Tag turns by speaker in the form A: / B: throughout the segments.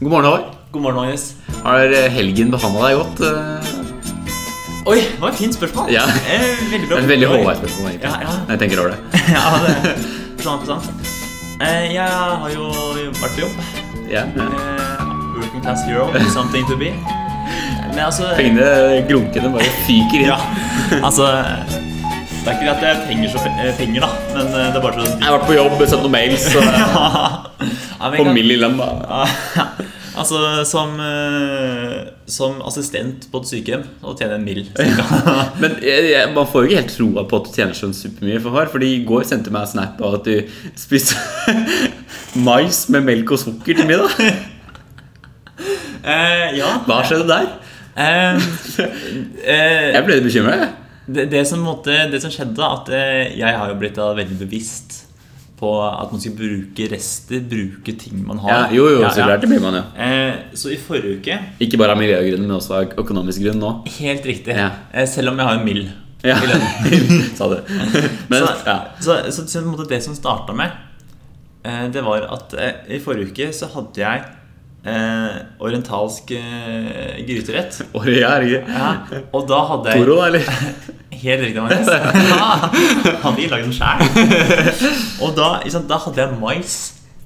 A: God morgen, Håvard.
B: God morgen, Magnus.
A: Har eh, helgen behandla deg godt? eh?
B: Oi, det var et fint spørsmål.
A: Ja.
B: Eh, Veldig
A: Det
B: bra.
A: er et veldig Håvard-spørsmål, egentlig.
B: Ja, ja.
A: Når jeg tenker over det.
B: ja, det er sant, sant. Eh, Jeg har jo vært på jobb.
A: Ja, ja.
B: Eh, Working class hero, something to be. Men altså
A: Pengene, grunkene, bare fyker inn.
B: Ja, altså Det er ikke det at jeg trenger så pe- eh, penger, da, men eh, det er bare sånn
A: Jeg har vært på jobb, sendt noen mails og
B: Ja, men jeg
A: på
B: kan-
A: mild i lønn. da.
B: Ja, Altså, som, eh, som assistent på et sykehjem og tjene en mill. cirka.
A: Men jeg, jeg, man får jo ikke helt troa på at du tjener sånn supermye for Håvard. Fordi i går sendte du meg en snap av at du spiste mais med melk og sukker til middag.
B: Eh, ja.
A: Hva skjedde der?
B: Eh, eh,
A: Jeg ble litt bekymra. jeg.
B: det, det, som måtte, det som skjedde, da, at eh, jeg har jo blitt da veldig bevisst på at man skal bruke rester, bruke ting man
A: Ja,
B: har.
A: jo, jo,
B: Ja,
A: så
B: ja.
A: klart. Det blir man jo.
B: Eh, så i forrige uke
A: Ikke bare av miljøgrunn, men også av økonomisk grunn nå.
B: Helt riktig.
A: Ja.
B: Eh, selv om jeg har en mill.
A: Ja.
B: i lønn.
A: Sa du. Men,
B: så,
A: ja.
B: så, så, så på en måte det som starta med, eh, det var at eh, i forrige uke så hadde jeg eh, orientalsk eh, gryterett.
A: Året jeg er ikke
B: Ja, og da hadde jeg
A: Toro, da, eller?
B: Helt riktig, Magnus. Ja, Hadde ikke lagd den sjæl. Og da, ikke sant, da hadde jeg mais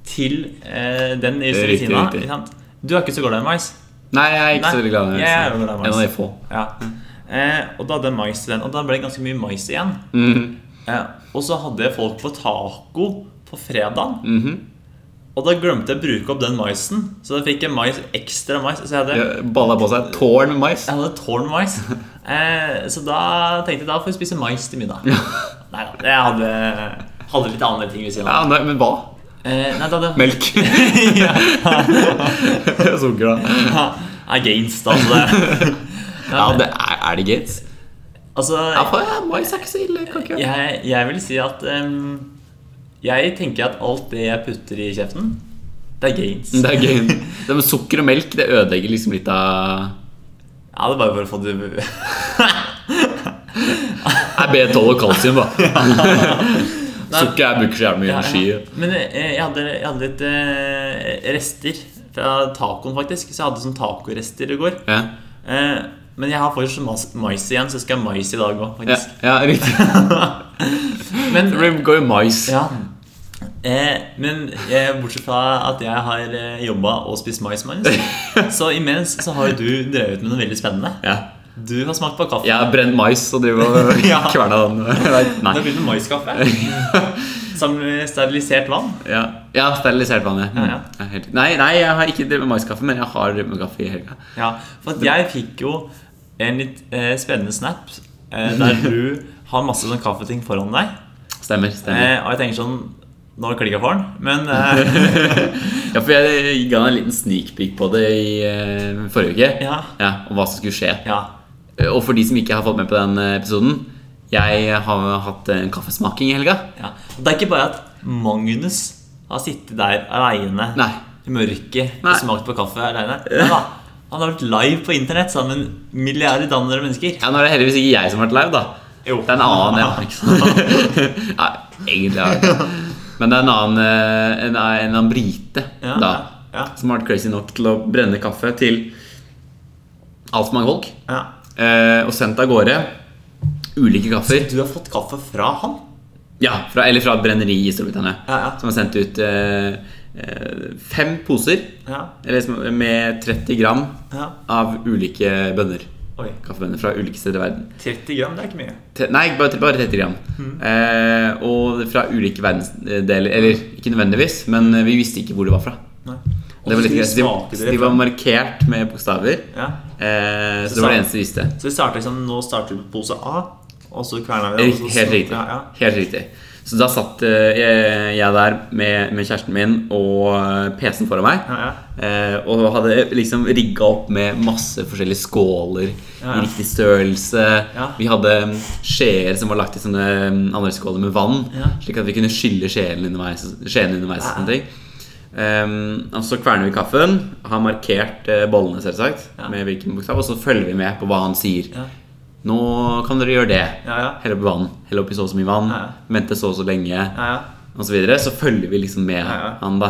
B: til eh, den i
A: er riktig,
B: Filippina.
A: riktig.
B: ikke sant? Du er ikke så glad i mais?
A: Nei, jeg er ikke så veldig glad i
B: Nei, jeg er jo glad i mais.
A: En av de få.
B: Ja.
A: Mm.
B: Eh, og da hadde jeg mais til den, og da ble det ganske mye mais igjen.
A: Mhm,
B: Eh, og så hadde jeg folk på taco på fredag,
A: mhm.
B: og da glemte jeg å bruke opp den maisen. Så da fikk jeg mais, ekstra mais. Så jeg hadde
A: Balla på seg et tårn med mais.
B: jeg hadde tårn mais. Eh, så da tenkte jeg da får vi spise mais til middag. Nei da, jeg hadde, hadde litt andre ting ved siden
A: Ja,
B: av.
A: nei, Men hva?
B: Eh, nei, da hadde
A: Melk.
B: ja.
A: Sukker, da.
B: Against, altså. Det. Nei,
A: Ja,
B: men,
A: det er, er det gates?
B: altså
A: Ja, for ja, mais er ikke så ille. Kan ikke.
B: jeg, jeg vil si at em, Jeg tenker at alt det jeg putter i kjeften, det er gains.
A: Det er gøy. Det med sukker og melk det ødelegger liksom litt av
B: Ja, det er bare for å få det
A: Er B12 og kalsium, da. Sukker jeg bruker så jævlig mye energi.
B: Men eh, jeg hadde, jeg hadde litt eh, rester fra tacoen, faktisk. Så jeg hadde sånn tacorester i går.
A: Ja,
B: Eh, men jeg har fortsatt mas- mais igjen, så jeg skal ha mais i dag òg,
A: ja,
B: faktisk.
A: ja riktig.
B: Men,
A: Det går jo mais.
B: ja. eh, men eh, bortsett fra at jeg har eh, jobba og spist mais, Magnus, så imens så har jo du drevet med noe veldig spennende.
A: Ja.
B: Du har smakt på kaffe.
A: Jeg har brent mais og driver og
B: Ja.
A: kverna den.
B: Du
A: Nei.
B: har begynt med maiskaffe. Sammen med sterilisert vann.
A: Ja, ja sterilisert vann. Ja.
B: Ja, ja.
A: Ja, helt- Nei, nei, jeg har ikke drevet med maiskaffe, men jeg har drevet med kaffe i helga.
B: Ja, for at jeg fikk jo en litt eh, spennende snap eh, der du har masse sånn kaffeting foran deg.
A: Stemmer. stemmer
B: Eh, og jeg tenker sånn Nå klikker for den, men eh,
A: Ja, for Jeg ga en liten sneak peek på det i eh, forrige uke.
B: Ja.
A: Om hva som skulle skje.
B: ja.
A: Eh, Og for de som ikke har fått med på den eh, episoden Jeg har hatt en kaffesmaking i helga.
B: ja. Og Det er ikke bare at Magnus har sittet der aleine
A: Nei.
B: i mørket
A: Nei.
B: og smakt på kaffe aleine. Han har vært live på internett sammen med milliarder andre mennesker.
A: Ja, Nå er det heldigvis ikke jeg som har vært live, da.
B: Jo.
A: Det er en annen ja, ikke sant? ja, Egentlig har jeg det. Men det er en annen, eh, en, en annen brite
B: Ja,
A: da,
B: ja, ja.
A: som har vært crazy nok til å brenne kaffe til altfor mange folk.
B: Ja.
A: eh, og sendt av gårde ulike kaffer.
B: Du har fått kaffe fra han?
A: Ja, fra, Eller fra et brenneri i Storbritannia.
B: Ja, ja.
A: Som har sendt ut eh, eh, fem poser
B: Ja.
A: eller, som- med 30 gram
B: ja.
A: av ulike bønner.
B: Oi.
A: Kaffebønner fra ulike steder i verden.
B: 30 gram, det er ikke mye.
A: Te- Nei, bare, bare 30 gram.
B: Mm.
A: Eh, og fra ulike verdensdeler. Eller ikke nødvendigvis, men vi visste ikke hvor det var fra.
B: Nei.
A: Det var litt,
B: Hvordan
A: greit. de,
B: smaker det
A: de var markert med bokstaver.
B: Ja.
A: Eh, så det var det eneste vi visste.
B: Så vi starter liksom, nå starter vi på pose A, og så kverner vi. og så-
A: Rik- Helt riktig.
B: Ja, ja.
A: Helt riktig. Så da satt eh, jeg, jeg der med, med kjæresten min og eh, PC-en foran meg.
B: Ja, ja.
A: Eh, og hadde liksom rigga opp med masse forskjellige skåler
B: Ja,
A: i
B: ja.
A: riktig størrelse.
B: Ja.
A: Vi hadde mm, skjeer som var lagt i sånne mm, andre skåler med vann,
B: Ja.
A: slik at vi kunne skylle skjeen underveis. Skjeen underveis og
B: Ja, ja.
A: sånne ting Ehm, og så kverner vi kaffen, har markert eh, bollene selvsagt,
B: Ja.
A: med hvilken bokstav, og så følger vi med på hva han sier.
B: Ja.
A: Nå kan dere gjøre det.
B: Ja, ja.
A: Helle oppi vann. Helle oppi så og så mye vann.
B: Ja, ja.
A: Vente så og så lenge.
B: Ja, ja.
A: Og så videre. Så følger vi liksom med
B: ja.
A: han, da.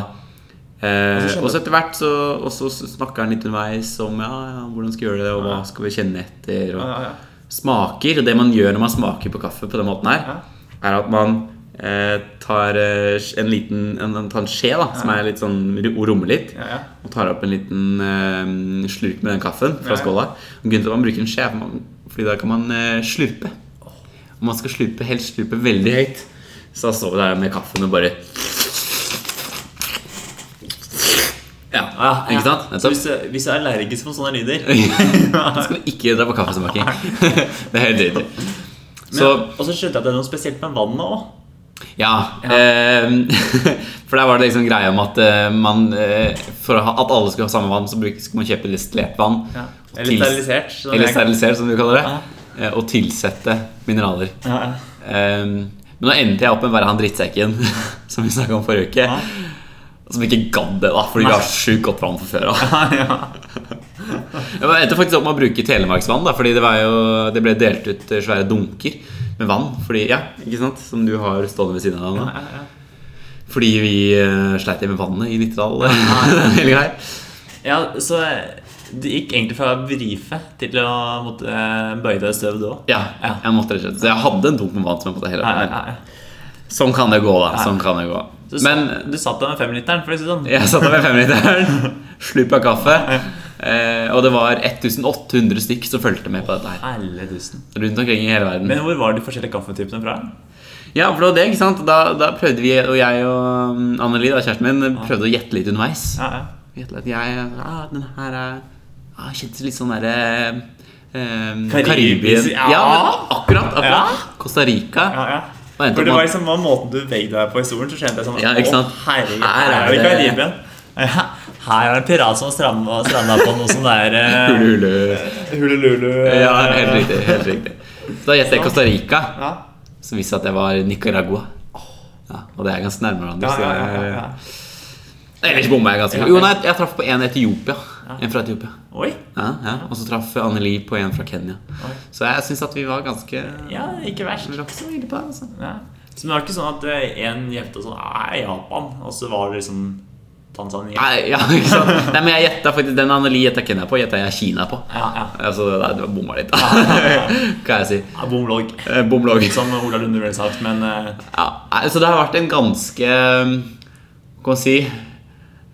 A: Eh,
B: skjønner-
A: og så etter hvert så, og så snakker han litt underveis om ja, ja, hvordan skal vi gjøre det, og hva
B: Ja.
A: skal vi kjenne etter. Og
B: Ja, ja, ja.
A: Smaker. Og det man gjør når man smaker på kaffe på den måten her,
B: Ja.
A: er at man eh, tar eh, en liten en, en, tar en skje da, som er litt sånn ro- rommer litt,
B: Ja, ja.
A: og tar opp en liten eh, slurk med den kaffen
B: Ja,
A: fra
B: ja.
A: skåla. Og Grunnen til at man bruker en skje, er for man- fordi da kan man eh, slurpe. Og man skal slurpe, helst slurpe veldig høyt. Så da står vi der med kaffen og bare Ja,
B: Ja, ja.
A: ikke sant?
B: Så
A: Nettopp.
B: hvis, du- hvis du er allergisk mot sånne lyder
A: Da skal du ikke dra på kaffesmaking. det er helt riktig. Så
B: Men- Og så skjønte jeg at det er noe spesielt med vannet òg.
A: Ja. ehm, for der var det liksom greia om at eh, man eh, For å ha- at alle skulle ha samme vann, så bruk- skulle man kjøpe destillert vann.
B: Ja.
A: og
B: Eller
A: tils-
B: sterilisert, som
A: Eller
B: jeg-
A: sterilisert, som du kaller det. eh, Og tilsette mineraler.
B: Ja, ja.
A: Ehm, men nå endte jeg opp med å være han drittsekken som vi snakka om forrige uke.
B: Ja.
A: Som ikke gadd det, da, fordi vi har sjukt godt vann fra før av. Jeg endte faktisk opp med å bruke telemarksvann, da, fordi det, var jo, det ble delt ut eh, svære dunker med vann. Fordi, ja, ikke sant? Som du har stående ved siden av deg nå.
B: Ja, ja, ja.
A: Fordi vi eh, sleit med vannet i Nittedal. eh, den hele greia.
B: Ja, så det gikk egentlig fra å brife til å måtte eh, bøye deg i støv du òg.
A: ja,
B: Ja.
A: jeg måtte rett og slett Så jeg hadde en dunk med vann som jeg måtte helle
B: Ja,
A: på.
B: ja, ja.
A: men Sånn kan det gå, da. Sånn kan det gå.
B: Så
A: Men eh,
B: sa- du satt der med femliteren, for å si det sånn.
A: jeg satt der med femliteren, slupp av kaffe, eh, og det var 1800 stykk som fulgte med på dette her.
B: Herlig tusen.
A: Rundt omkring i hele verden.
B: Men hvor var de forskjellige kaffetypene fra?
A: Ja, for det var det, ikke sant? Da, da prøvde vi, og jeg og mm, Anneli, da, kjæresten min, prøvde å gjette litt underveis.
B: Ja, ja.
A: Gjette litt, jeg, ah, den her er ah, Kjentes litt sånn derre eh,
B: Karibisk,
A: Karibien.
B: ja.
A: Ja, men akkurat! akkurat.
B: Ja.
A: Costa Rica.
B: ja, ja.
A: Og endte
B: For det
A: opp
B: var
A: med at-
B: liksom var måten du vegde deg på i stolen, så kjente jeg sånn
A: Ja, ikke sant?
B: Å, herregud,
A: Her
B: her
A: er
B: er det
A: det-
B: Karibien. Ja, her er det en pirat som har stranda stranda på noe som det er eh,
A: Hulu, hulu.
B: Hulululu. eh,
A: Ja, helt riktig. helt riktig Så Da gjettet jeg Costa Rica,
B: Ja.
A: som viste at jeg var Nicaragua. Ja, og det er ganske nærme hverandre.
B: Ja,
A: så
B: ja,
A: jeg-
B: ja, ja,
A: Ellers bomma jeg ganske
B: Ja.
A: Jo, nei, jeg traff på en Etiopia. En fra Etiopia.
B: ja. Oi.
A: Ja, ja. Og så traff Anneli på en fra Kenya. Så jeg syns at vi var ganske
B: Ja, ikke verst.
A: Vi var ikke så ille på det. Altså.
B: Ja. Så det var ikke sånn at eh, en gjemte sånn Nei, Japan. Og så var det liksom Tanzania.
A: Nei, ja, ikke sant? Nei, men jeg gjetta faktisk den Anneli gjetta Kenya på, gjetta jeg Kina på.
B: Ja, ja.
A: Altså, nei, det var bomma litt. Hva jeg si?
B: ja Bomlogg.
A: Eh, Bomlogg.
B: Som Ola Lunde ville sagt, men eh,
A: Ja, nei, så det har vært en ganske eh, Hva kan man si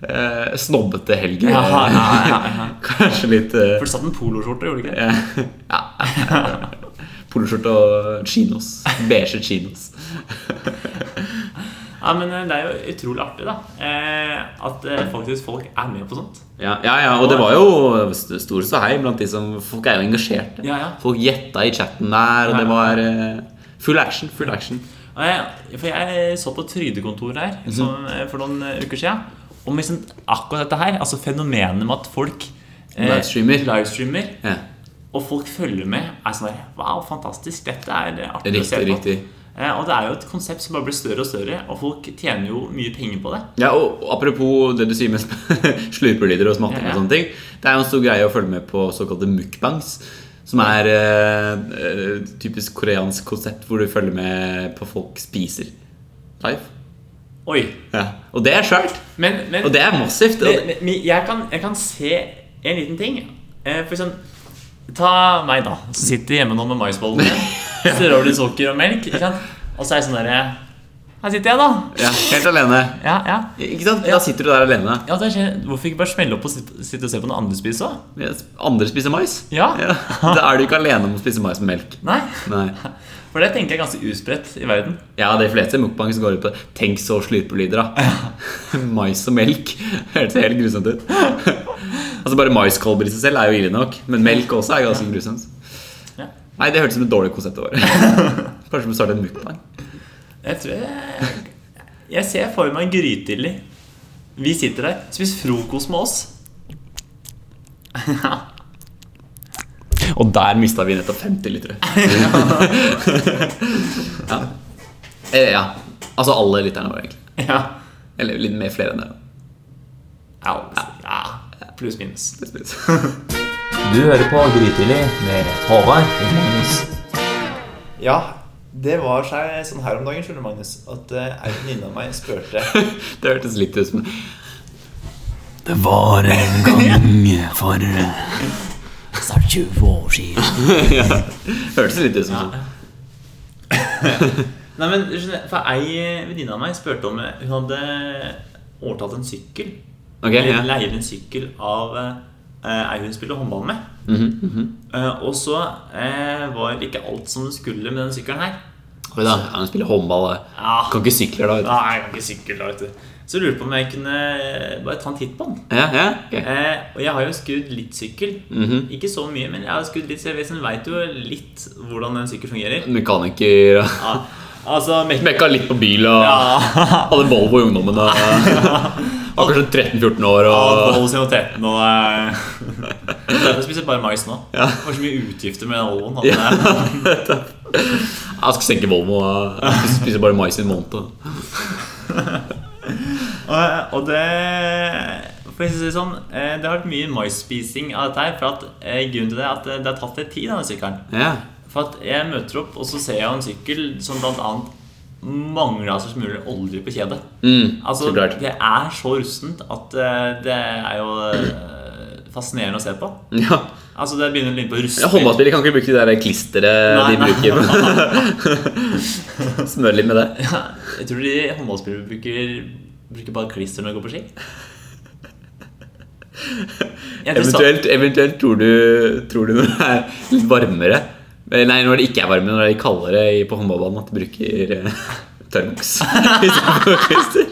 A: eh, Snobbete helg.
B: Ja, ja, ja, ja.
A: Kanskje litt eh,
B: For det satt en poloskjorte, gjorde det ikke?
A: Ja. Poloskjorte og chinos. Beige chinos.
B: Ja, men eh, det er jo utrolig artig, da. Eh, at eh, faktisk folk er med på sånt.
A: Ja, ja, ja, og det var jo st- stor ståhei blant de som Folk er jo engasjerte.
B: Ja, ja.
A: Folk gjetta i chatten der, og det
B: Ja.
A: var eh, full action. Full action.
B: Og jeg, for jeg så på Trydekontoret her
A: Mhm.
B: som, eh, for noen eh, uker siden. Om liksom akkurat dette her, altså fenomenet med at folk eh,
A: Livestreamer.
B: livestreamer
A: Ja,
B: og folk følger med, er sånn der, Wow, fantastisk. Dette er eh, artig
A: riktig,
B: å se på.
A: riktig.
B: Eh, Og det er jo et konsept som bare blir større og større, og folk tjener jo mye penger på det.
A: Ja, og og apropos det du sier med sp- slurpelyder og smatting
B: Ja,
A: og
B: ja.
A: sånne ting. Det er jo en stor greie å følge med på såkalte mukbangs. Som er eh, eh, typisk koreansk konsept hvor du følger med på folk spiser live.
B: Oi.
A: Ja. Og det er svært!
B: Men, men,
A: Og det er massivt.
B: men,
A: Og det,
B: men- men jeg, kan, jeg kan se en liten ting. Eh, For eksempel Ta meg, da. som Sitter hjemme nå med maisbollene. Strør over litt sukker og melk. Ikke sant? Og så er jeg sånn derre Her sitter jeg, da.
A: ja, helt alene.
B: Ja, ja.
A: Ikke sant? Da sitter du der alene.
B: ja det skjer. Hvorfor ikke bare smelle opp og sitte, sitte og se på noen andre spise òg?
A: Mens Andre spiser mais.
B: Ja.
A: Da er du ikke alene om å spise mais med melk.
B: Nei.
A: Nei.
B: For det tenker jeg er ganske utbredt i verden.
A: Ja, de fleste mukbangs går ut på det. Tenk så slurpelyder, da. mais og melk. Hørtes helt grusomt ut. altså Bare maiskolber i seg selv er jo ille nok, men melk også er ganske grusomt.
B: Ja.
A: Nei, det hørtes ut som et dårlig konsept. Over. Kanskje vi starter en mukbang?
B: Jeg tror jeg, jeg ser for meg en grytidlig. Vi sitter der, spiser frokost med oss.
A: Og der mista vi nettopp 50 liter. ja. Eh, ja. Altså alle lytterne våre, egentlig.
B: Ja.
A: Eller litt mer flere enn det. da.
B: Ja, ja. Pluss minus.
A: Du hører på Grytidlig med Håvard
B: Ja, det var seg sånn her om dagen, skjønner du, Magnus, at eh, ei venninne av meg spurte
A: Det hørtes litt ut som
C: Det var en gang for snart 20 år siden.
A: Hørtes litt ut som sånn.
B: Nei, men skjønner jeg, for Ei venninne av meg spurte om eh, hun hadde overtalt en sykkel.
A: Ok,
B: Eller
A: ja.
B: leier en sykkel av eh, ei hun spiller håndball med. Eh, og så eh, var ikke alt som det skulle med den sykkelen her.
A: Oi da, ja, hun spiller håndball. da.
B: Ja.
A: Kan ikke sykle da. vet du.
B: Nei, jeg kan ikke sykkel da, vet du. Så jeg lurte på om jeg kunne eh, bare ta en titt på den.
A: Ja, ja, ok.
B: Eh, og jeg har jo skudd litt sykkel.
A: Mhm.
B: Ikke så mye, men jeg har skudd litt, så jeg vet- så jeg vet jo litt hvordan en sykkel fungerer.
A: Mekaniker og
B: Ja, altså, mek
A: Mekka litt på bil og
B: ja.
A: hadde Volvo i ungdommen. Og, var kanskje 13-14 år.
B: Ja,
A: Og,
B: Volvo CO13 og eh, Derfor spiser jeg bare mais nå. Det var så mye utgifter med Olvoen. at det-
A: jeg skal senke Volvo og jeg spiser bare mais i en måned. og-
B: Og, og det for å si Det sånn, eh, det har vært mye maisspising av dette her. For at, eh, grunnen til det er at det har tatt litt tid, denne sykkelen.
A: Ja.
B: For at jeg møter opp, og så ser jeg en sykkel som blant annet mangla så smuler olje på kjedet.
A: Mm,
B: Altså,
A: så klart.
B: det er så rustent at eh, det er jo eh, fascinerende å se på.
A: Ja.
B: Altså, det begynner å ligne på
A: Ja,
B: rustning.
A: Håndballspillere kan ikke bruke de der klisteret
B: Nei,
A: de
B: nei.
A: bruker. Smør litt med det.
B: Ja, Jeg tror de håndballspillere bruker, bruker bare klister når de går på ski. Jeg tror sa-
A: Eventuelt, eventuelt tror, du, tror du når det er litt varmere eh, Nei, når det ikke er varmere, når det er litt kaldere i- på håndballbanen, at de bruker eh, Thermox istedenfor klister.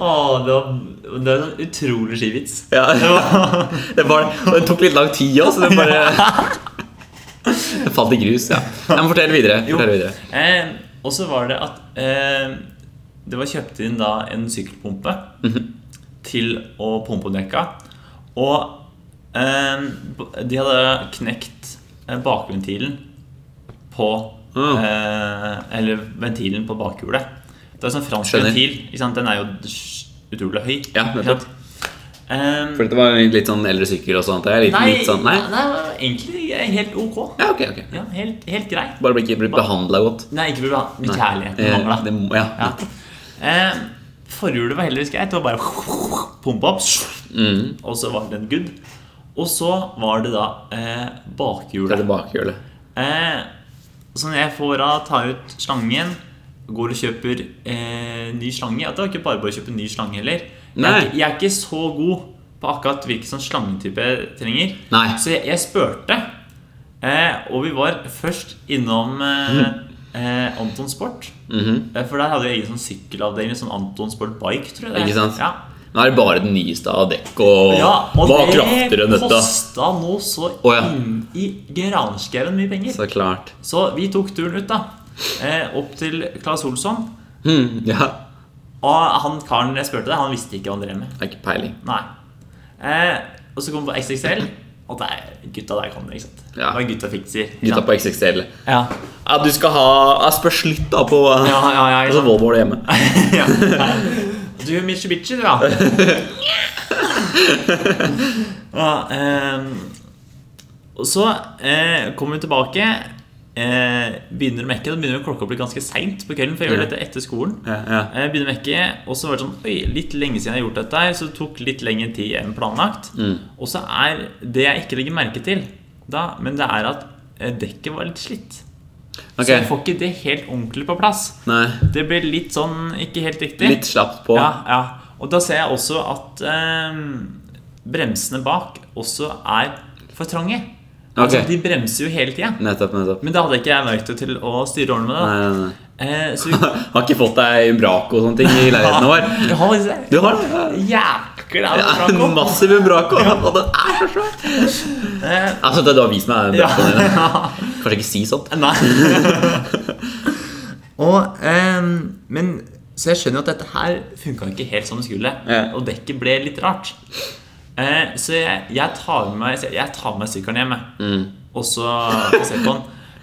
B: Åh, det, var, det er en sånn utrolig skivits.
A: Ja, det var og det tok litt lang tid òg, så det bare Det falt i grus. ja Jeg må fortelle videre.
B: Jo.
A: Fortell videre.
B: Eh, og så var det at eh, det var kjøpt inn da en sykkelpumpe
A: Mhm.
B: til å pumpe opp dekka. Og eh, b- de hadde knekt eh, bakventilen på
A: Mm.
B: eh, Eller ventilen på bakhjulet. Det er sånn fransk
A: Skjønner.
B: ventil. Ikke sant? Den er jo s- utrolig høy.
A: Ja,
B: ikke
A: nettopp.
B: sant? Eh,
A: For dette var en litt sånn eldre sykkel og sånt. Det er litt,
B: nei,
A: litt sånn, nei?
B: nei, egentlig helt ok.
A: Ja, ok, ok
B: Ja, helt, helt grei.
A: Bare bli ikke blitt behandla godt.
B: Nei, ikke burde ha
A: Nei.
B: kjærligheten
A: Eh,
B: mangla.
A: det må- ja.
B: Ja. Eh, forhjulet var heldigvis greit. Det var bare pumpa opp,
A: Mm.
B: og så var den good. Og så var det da eh,
A: Fra
B: bakhjulet.
A: tilbakehjulet.
B: Eh, så når jeg får av, tar ut slangen, går og kjøper eh, ny slange Ja, Det var ikke bare bare å kjøpe ny slange heller. Jeg
A: Nei.
B: er, ikke- jeg er ikke så god på akkurat hvilken sånn slangetype jeg trenger.
A: Nei.
B: Så jeg, jeg spurte. Eh, og vi var først innom eh,
A: Mhm.
B: eh, Anton Sport. Eh, For der hadde vi egen sånn sykkelavdeling. Sånn Anton Sport Bike, tror jeg. det er.
A: Ikke sant?
B: Ja.
A: Nå er det bare den nyeste av dekk og
B: Ja, og
A: hva kraftigere enn
B: det
A: dette.
B: kosta nå så
A: Å, ja.
B: inn i granskauen mye penger.
A: Så klart.
B: Så vi tok turen ut, da. Eh, opp til Claes Olsson.
A: Mm, ja.
B: Og han karen jeg spurte, han visste ikke hva han drev med.
A: Det er ikke peiling.
B: Nei. Eh, og så kom vi på XXL, og der, gutta der kom det. ikke sant?
A: Ja.
B: Det var gutta fikser. ikke
A: Gutta
B: sant?
A: på XXL.
B: Ja.
A: Ja, du skal ha Jeg spørs litt, da, på
B: Ja, ja, ja, ikke
A: Altså
B: sant?
A: Volvo hjemme.
B: ja. Du er Mitsubishi, du, ja. ja ehm, og så eh, kommer vi tilbake, eh, begynner å mekke. Da begynner klokka å bli ganske seint på kvelden, for jeg gjør
A: Ja.
B: dette etter skolen.
A: Ja, ja.
B: Eh, begynner å mekke, og så var det sånn Oi, litt lenge siden jeg har gjort dette her, så det tok litt lengre tid enn planlagt.
A: Mm.
B: Og så er det jeg ikke legger merke til da, men det er at eh, dekket var litt slitt. Så jeg
A: Ok.
B: får ikke det helt ordentlig på plass.
A: Nei.
B: Det blir litt sånn ikke helt riktig.
A: Litt slapt på.
B: Ja, ja. Og da ser jeg også at eh, bremsene bak også er for trange. Altså,
A: Ok.
B: de bremser jo hele tida.
A: Nettopp, nettopp.
B: Men det hadde ikke jeg verktøy til å styre ordentlig med.
A: Nei,
B: det,
A: nei, nei.
B: da. Eh, så vi
A: Har ikke fått deg Umbraco og sånne ting i leiligheten vår.
B: Jeg har faktisk det.
A: Du har det? ja.
B: Jækla
A: Det er
B: bra
A: en
B: kopp.
A: massiv Umbraco, og den er så svær.
B: Eh,
A: Altså, det du har vist meg
B: ja.
A: Umbracoen din. Kanskje ikke si sånt.
B: Nei. Og, ehm, men Så jeg skjønner jo at dette her funka ikke helt som det skulle.
A: Ja.
B: Og dekket ble litt rart. Eh, så jeg, jeg tar med meg Jeg tar med meg sykkelen hjem, jeg.
A: Mm.
B: og så får jeg se på den.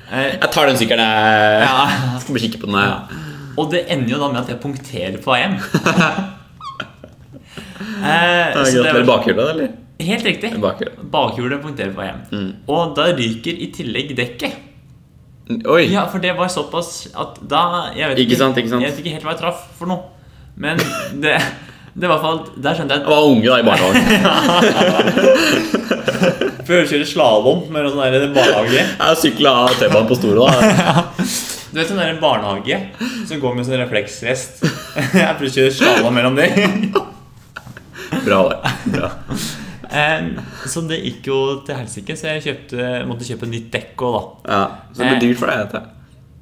B: Eh,
A: Jeg tar den sykkelen, jeg.
B: ja.
A: Skal bare kikke på den. Jeg.
B: Og det ender jo da med at jeg punkterer på vei hjem. Eh, så det
A: Gratulerer
B: var-
A: bakhjulet, eller?
B: Helt riktig.
A: Bakhjulet.
B: Bakhjulet punkterer på vei hjem.
A: Mm.
B: Og da ryker i tillegg dekket.
A: Oi.
B: Ja, for det var såpass at da jeg vet
A: Ikke sant, ikke sant?
B: Jeg vet ikke helt hva jeg traff for noe. Men det, Det var i hvert fall, Der skjønte jeg
A: Jeg var unge da i barnehagen.
B: at Før du kjører slalåm med noen sånne der barnehage
A: Jeg sykla T-banen på Storo da.
B: Du vet sånn der barnehage som går med sånn refleksvest? Jeg prøver å kjøre slalåm mellom de.
A: Bra år. Bra.
B: Eh, Så det gikk jo til helsike, så jeg kjøpte, måtte kjøpe nytt dekk òg, da.
A: Ja, så det blir dyrt for deg, dette.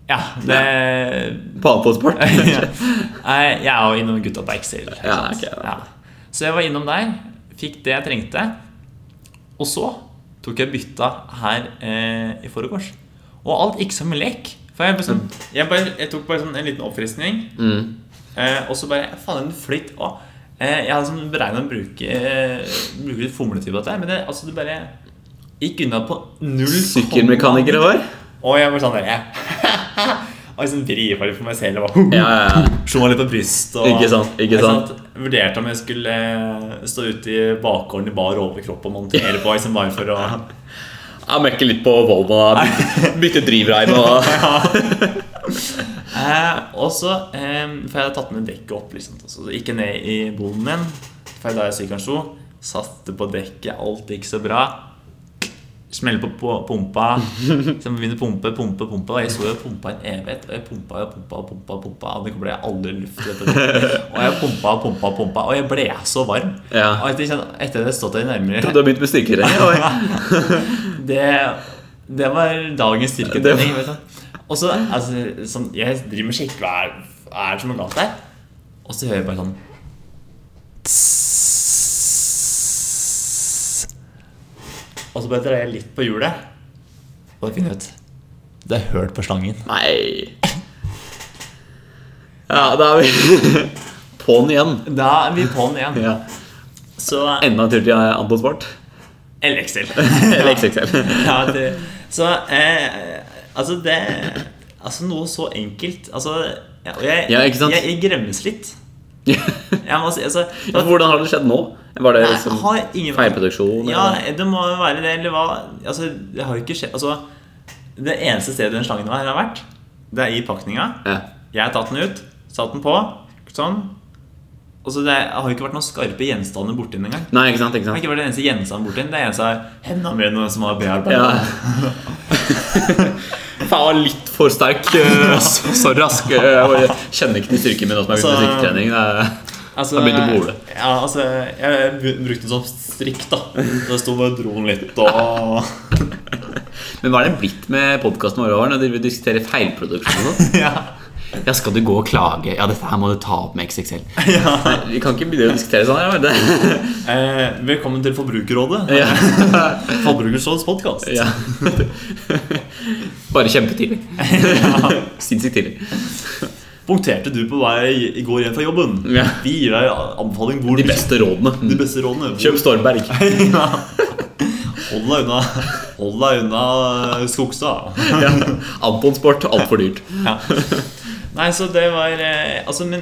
B: Ja, det
A: Panepåsport.
B: ja. Nei, Jeg er jo innom gutta på Excel. ikke
A: Ja,
B: sant?
A: ok, da.
B: ja. Så jeg var innom der, fikk det jeg trengte. Og så tok jeg bytta her eh, i forgårs. Og alt gikk som en lek. For jeg, bare sånn,
A: Mm.
B: jeg, bare, jeg tok bare sånn en liten oppfriskning. Eh, og så bare Faen, en flytt. Å, eh, jeg hadde sånn beregna å bruke, eh, bruke litt fomlete på dette, her, men det, altså, det bare gikk unna på null
A: Sykkelmekaniker det var.
B: og jeg var sånn der jeg. Og liksom vriet bare for meg selv og bare
A: Ja, ja, ja.
B: Slo meg litt på brystet og
A: Ikke sant, ikke sant.
B: Vurderte om jeg skulle eh, stå ute i bakgården i bar overkropp og montere på liksom bare for å
A: Jeg mekker litt på Volvoen. Bytte drivreim og
B: eh, Og så eh, For jeg hadde tatt med dekket opp, liksom. Så gikk jeg ned i boden min, for da jeg sykkelen sto. Satte på dekket, alt gikk så bra. Smelle på, på pumpa. Så jeg begynner å pumpe, pumpe, pumpe. Og jeg så jo pumpa en evighet. Og jeg pumpa og pumpa og pumpa. Og pumpa Og det ble jeg aldri luft i dette dekket. Og jeg pumpa og pumpa og pumpa. Og jeg ble så varm.
A: Ja.
B: Og etter, etter det stått der nærmere
A: Du har begynt med styrkeregning?
B: det, det var dagens styrketrening.
A: Det
B: vet du. Og så, altså, sånn, Jeg driver med skikkelig hva er, hva er det som er galt der? Og så hører jeg bare sånn tss. Og så bare drar jeg litt på hjulet, og jeg finner ut Det er hørt på slangen.
A: Nei Ja, da er vi på'n igjen.
B: Da er vi på'n igjen.
A: Ja.
B: Så
A: Enda en tur til Anton Sport.
B: LXL.
A: Eller XXL.
B: ja, det, så eh, Altså, det Altså, noe så enkelt. Altså, ja, og jeg,
A: Ja, ikke sant?
B: jeg, jeg gremmes litt. Jeg må si, altså
A: Ja, for Hvordan har det skjedd nå? Var det
B: Nei,
A: liksom
B: jeg har ingen
A: feilproduksjon?
B: Ja,
A: eller?
B: det må jo være det, eller hva Altså, det har jo ikke skjedd Altså, det eneste stedet den slangen her har vært, det er i pakninga.
A: Ja.
B: Jeg har tatt den ut, satt den på, sånn. Og så det har jo ikke vært noen skarpe gjenstander borti den engang.
A: Nei, ikke sant? ikke
B: Det har
A: sant?
B: ikke vært den eneste gjenstanden borti den. Det eneste er henda mine som har bearbeida.
A: Ja. Faen, jeg var litt for sterk. øh, Så så rask. øh, Jeg bare kjenner ikke til styrken min nå som jeg har begynt med eh.
B: Så-
A: styrketrening. Det er-
B: Altså,
A: Da begynte å bole.
B: Ja, altså, jeg bu- brukte den som strikk, da. Det sto bare og dro den litt og
A: Men hva er det blitt med podkasten vår over når dere diskuterer feilproduksjon? og sånn. sånt?
B: ja.
A: Ja, skal du gå og klage? Ja, dette her må du ta opp med XXL. Nei, vi kan ikke begynne å diskutere sånn. her, vet du.
B: eh, Velkommen til Forbrukerrådet.
A: Ja.
B: Forbrukerrådets podkast.
A: Ja. Bare kjempetidlig. Sinnssykt tidlig.
B: Punkterte du på vei i går hjem fra jobben?
A: Ja.
B: Vi gir deg anbefaling hvor
A: De beste
B: de
A: rådene.
B: beste rådene. Hvor-
A: Kjøp Stormberg.
B: ja. Hold deg unna Hold deg unna Skogstad.
A: Ja. Anton Sport, altfor dyrt.
B: Ja. Nei, så det var eh, Altså, men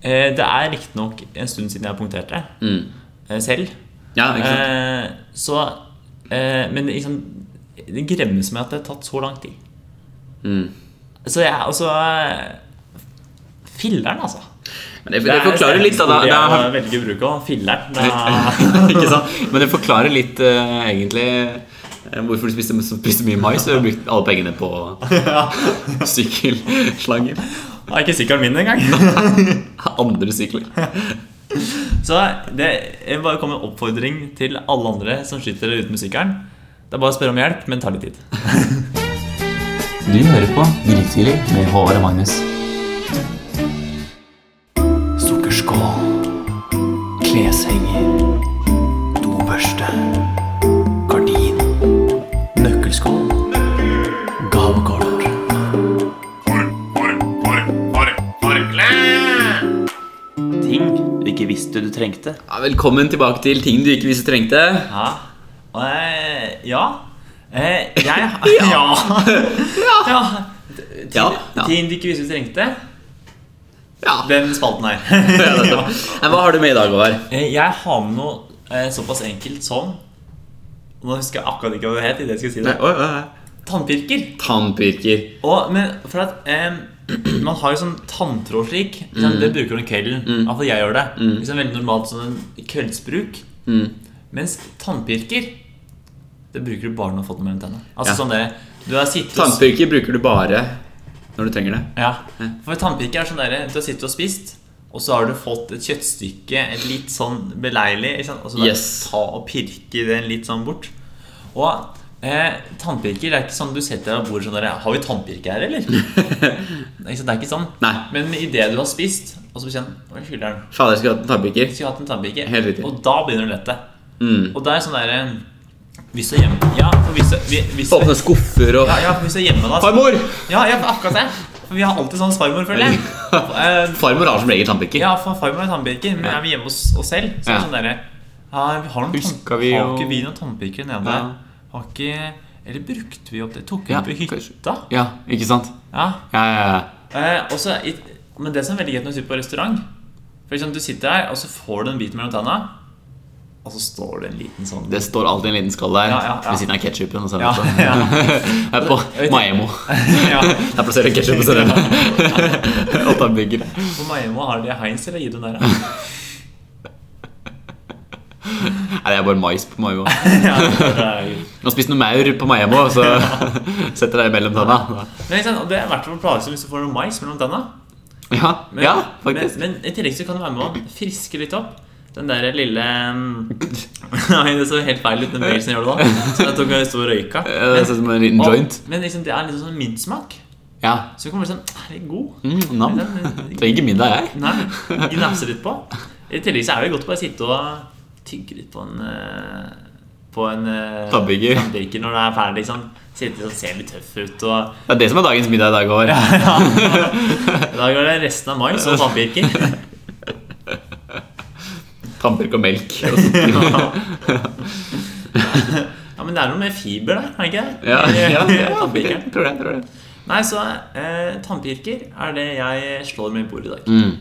B: eh, Det er riktignok en stund siden jeg punkterte
A: Mm.
B: eh, selv.
A: Ja, ikke sant?
B: Eh, så eh, Men liksom, det gremmes meg at det har tatt så lang tid.
A: Mm.
B: Så jeg altså eh, Filler'n, altså.
A: Men det, det forklarer litt, da. da, da
B: Jeg velger bruk av filler'n. Da-
A: ikke sant? Men det forklarer litt eh, egentlig eh, hvorfor du spiste, spiste mye mais og brukte alle pengene på sykkelslanger.
B: Det er ikke sykkelen min engang.
A: Andre sykler.
B: Så det jeg bare kom med en oppfordring til alle andre som sitter der ute med sykkelen. Det er bare å spørre om hjelp, men det tar litt tid.
C: Du hører på Grytidlig med Håvard og Magnus. Sukkerskål. Kleshenger. Dobørste. Gardin. Nøkkelskål. Gavekort.
B: Ting du ikke visste du trengte.
A: Ja, velkommen tilbake til ting du ikke visste trengte.
B: Ja. Og, eh, ja. Eh, jeg Ja. ja.
A: Ja. ja.
B: Ting du ikke visste du trengte.
A: ja.
B: Den spalten her.
A: Ja, det er sant. Nei, Hva har du med i dag, Håvard?
B: Eh, Jeg har med noe eh, såpass enkelt som Nå husker jeg akkurat ikke hva det het. i det jeg skulle si det.
A: Nei, oi, oi, oi.
B: Tannpirker.
A: Tannpirker.
B: Og, men for at em, Man har jo sånn tanntråd slik.
A: Mm.
B: sånn, Det bruker du om kvelden. Iallfall jeg gjør det. Liksom Veldig normalt sånn en kveldsbruk.
A: Mm.
B: Mens tannpirker, det bruker du bare når du har fått noe mellom tennene. Altså
A: Ja.
B: sånn der, du har sittet og-
A: Tannpirker bruker du bare når du trenger det.
B: Ja, for tannpirker er sånn der Du har sittet og spist Og så har du fått et kjøttstykke Et litt sånn beleilig ikke sant? Og så bare
A: Yes.
B: ta og pirke den litt sånn bort Og eh, tannpirker er ikke sånn Du setter deg og bordet sånn der Har vi tannpirker her, eller? Nei, ikke sant, det er ikke sånn
A: Nei.
B: Men i det du har spist Og så blir sånn Hva er skylderen?
A: Fader, jeg skulle hatt en tannpirker.
B: Skulle hatt en tannpirker
A: Helt riktig. Mm.
B: Og da begynner du å lette Og det er sånn der eh, Hvis du er hjemme Ja, for hvis du vi- hvis du-
A: Åpne skuffer og
B: ja, ja, for hvis du er hjemme da så-
A: Farmor!
B: ja, ja, akkurat det. For vi har alltid sånn farmor, føler jeg. Eh,
A: Farmor har som regel tannpirker.
B: ja, for farmor er tannpirker, men er vi hjemme hos oss selv, så er det
A: Ja.
B: sånn derre ja, vi har, noen
A: Husker
B: tann-
A: vi
B: har
A: å-
B: ikke vi noen tannpirker nede?
A: Ja.
B: Har ikke Eller brukte vi opp det? Tok vi
A: Ja,
B: opp i hytta?
A: kanskje. Ja, ikke sant?
B: Ja.
A: Ja, ja, ja.
B: Eh, og så i, men det som er veldig greit når du sitter på restaurant For eksempel, Du sitter her, og så får du en bit mellom tenna, og så står det en liten sånn
A: Det står alltid en liten skall der
B: Ja, ja, ja.
A: ved siden av ketsjupen. Og
B: Ja,
A: sennepen.
B: ja,
A: Jeg er på
B: vet-
A: Maemo.
B: ja.
A: Der plasserer jeg ketsjup og sennep. Og tannpirker.
B: På Maimo har de Heinz eller Idun der? da?
A: Nei, det er bare mais på Maemo.
B: Ja, det er jo
A: Nå spiste noe maur på Maemo, så setter jeg det mellom tanna.
B: Men ikke sant, og Det er hvert fall plagsomt hvis du får noe mais mellom tenna.
A: Ja,
B: Men,
A: ja, faktisk.
B: Men, men i tillegg så kan du være med å friske litt opp. Den der lille um, Nei, det så helt feil ut, den bevegelsen jeg gjorde da. Så jeg tok en stor røyka.
A: Ja, Det ser ut som en liten
B: Og-
A: joint.
B: men liksom, det er litt sånn mintsmak.
A: Ja.
B: Så kommer det sånn Er det god? Liksom,
A: Mm, nam. Trenger ikke middag, jeg.
B: Nei, gnafse litt på. I tillegg så er det jo godt å bare sitte og tygge litt på en eh, På en eh,
A: Tannbirker.
B: tannbirker når det er ferdig. Liksom. Sitte og se litt tøff ut og
A: Det er det som er dagens middag i dag. Håvard.
B: I dag er det resten av mai, så tannbirker.
A: Tannpirk og melk.
B: ja, men det er noe med fiber der, er det ikke det?
A: Ja,
B: I-
A: ja,
B: i
A: ja,
B: tannpirkeren.
A: tror det. Tror det.
B: Nei, så eh, tannpirker er det jeg slår med i bordet i dag.
A: Mm.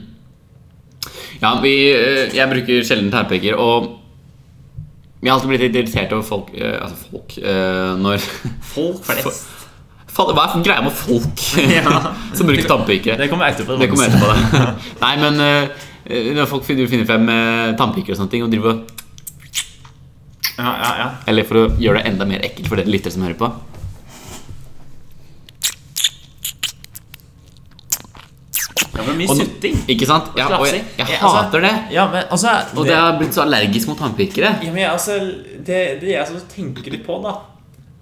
A: Ja, vi, eh, jeg bruker sjelden tærpeker, og jeg har alltid blitt litt irritert over folk eh, Altså folk eh, når
B: Folk flest.
A: Fader, Hva er greia med folk
B: Ja.
A: som bruker tannpikere?
B: Det kommer etterpå.
A: Det kommer jeg etterpå. det. Nei, men eh, når folk finner finner frem eh, tannpikere og sånne ting og driver og-
B: Ja, ja, ja.
A: Eller for å gjøre det enda mer ekkelt for dere lyttere som hører på
B: Det var mye
A: Og nå-
B: sutting.
A: Ikke sant? Ja, og jeg, jeg
B: Ja, altså-
A: hater det.
B: Ja, men altså
A: Og
B: det,
A: jeg har blitt så allergisk mot tannpikere.
B: ja, men, jeg, altså, det, det jeg som tenker litt på, da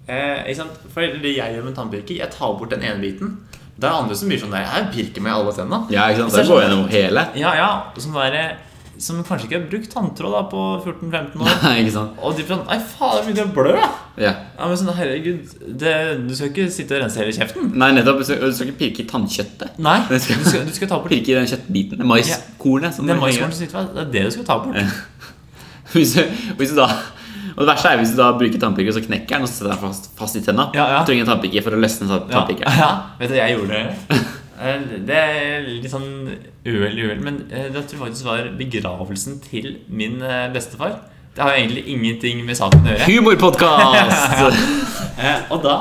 B: eh, ikke sant? For det jeg gjør med en tannpirker, jeg tar bort den ene biten. Det er andre som blir sånn der Jeg pirker med alle tenna.
A: Ja, ikke
B: sant? Da går jeg
A: gjennom hele.
B: sånn- Ja, ja, og som, der, som kanskje ikke har brukt tanntråd da på 14-15 år.
A: Nei, ikke sant?
B: Og de blir sånn Nei, faen, jeg begynner å blø! jeg!»
A: Ja.
B: Ja, men sånn, herregud, det, Du skal ikke sitte og rense hele kjeften.
A: Nei, nettopp. Du skal du skal ikke pirke i tannkjøttet.
B: Nei, du
A: Det skal-
B: skal, du skal ta bort
A: Pirke i den kjøttbiten. det Maiskornet. som
B: den
A: henger.
B: maiskornen som sitter fast. Det er det du skal ta bort.
A: Hvis, du- hvis du da og det verste er hvis du da bruker tannpirker, så knekker den og så setter den fast, fast i tenna.
B: Ja, ja.
A: Du trenger en tannpirker for å løsne tann-
B: Ja,
A: tannpirkeren.
B: ja, vet du, jeg gjorde det. Eh, Det er litt sånn uhell, uhell. Men eh, det tror jeg faktisk var begravelsen til min eh, bestefar. Det har jo egentlig ingenting med saken å gjøre.
A: Humorpodkast!
B: Eh, og da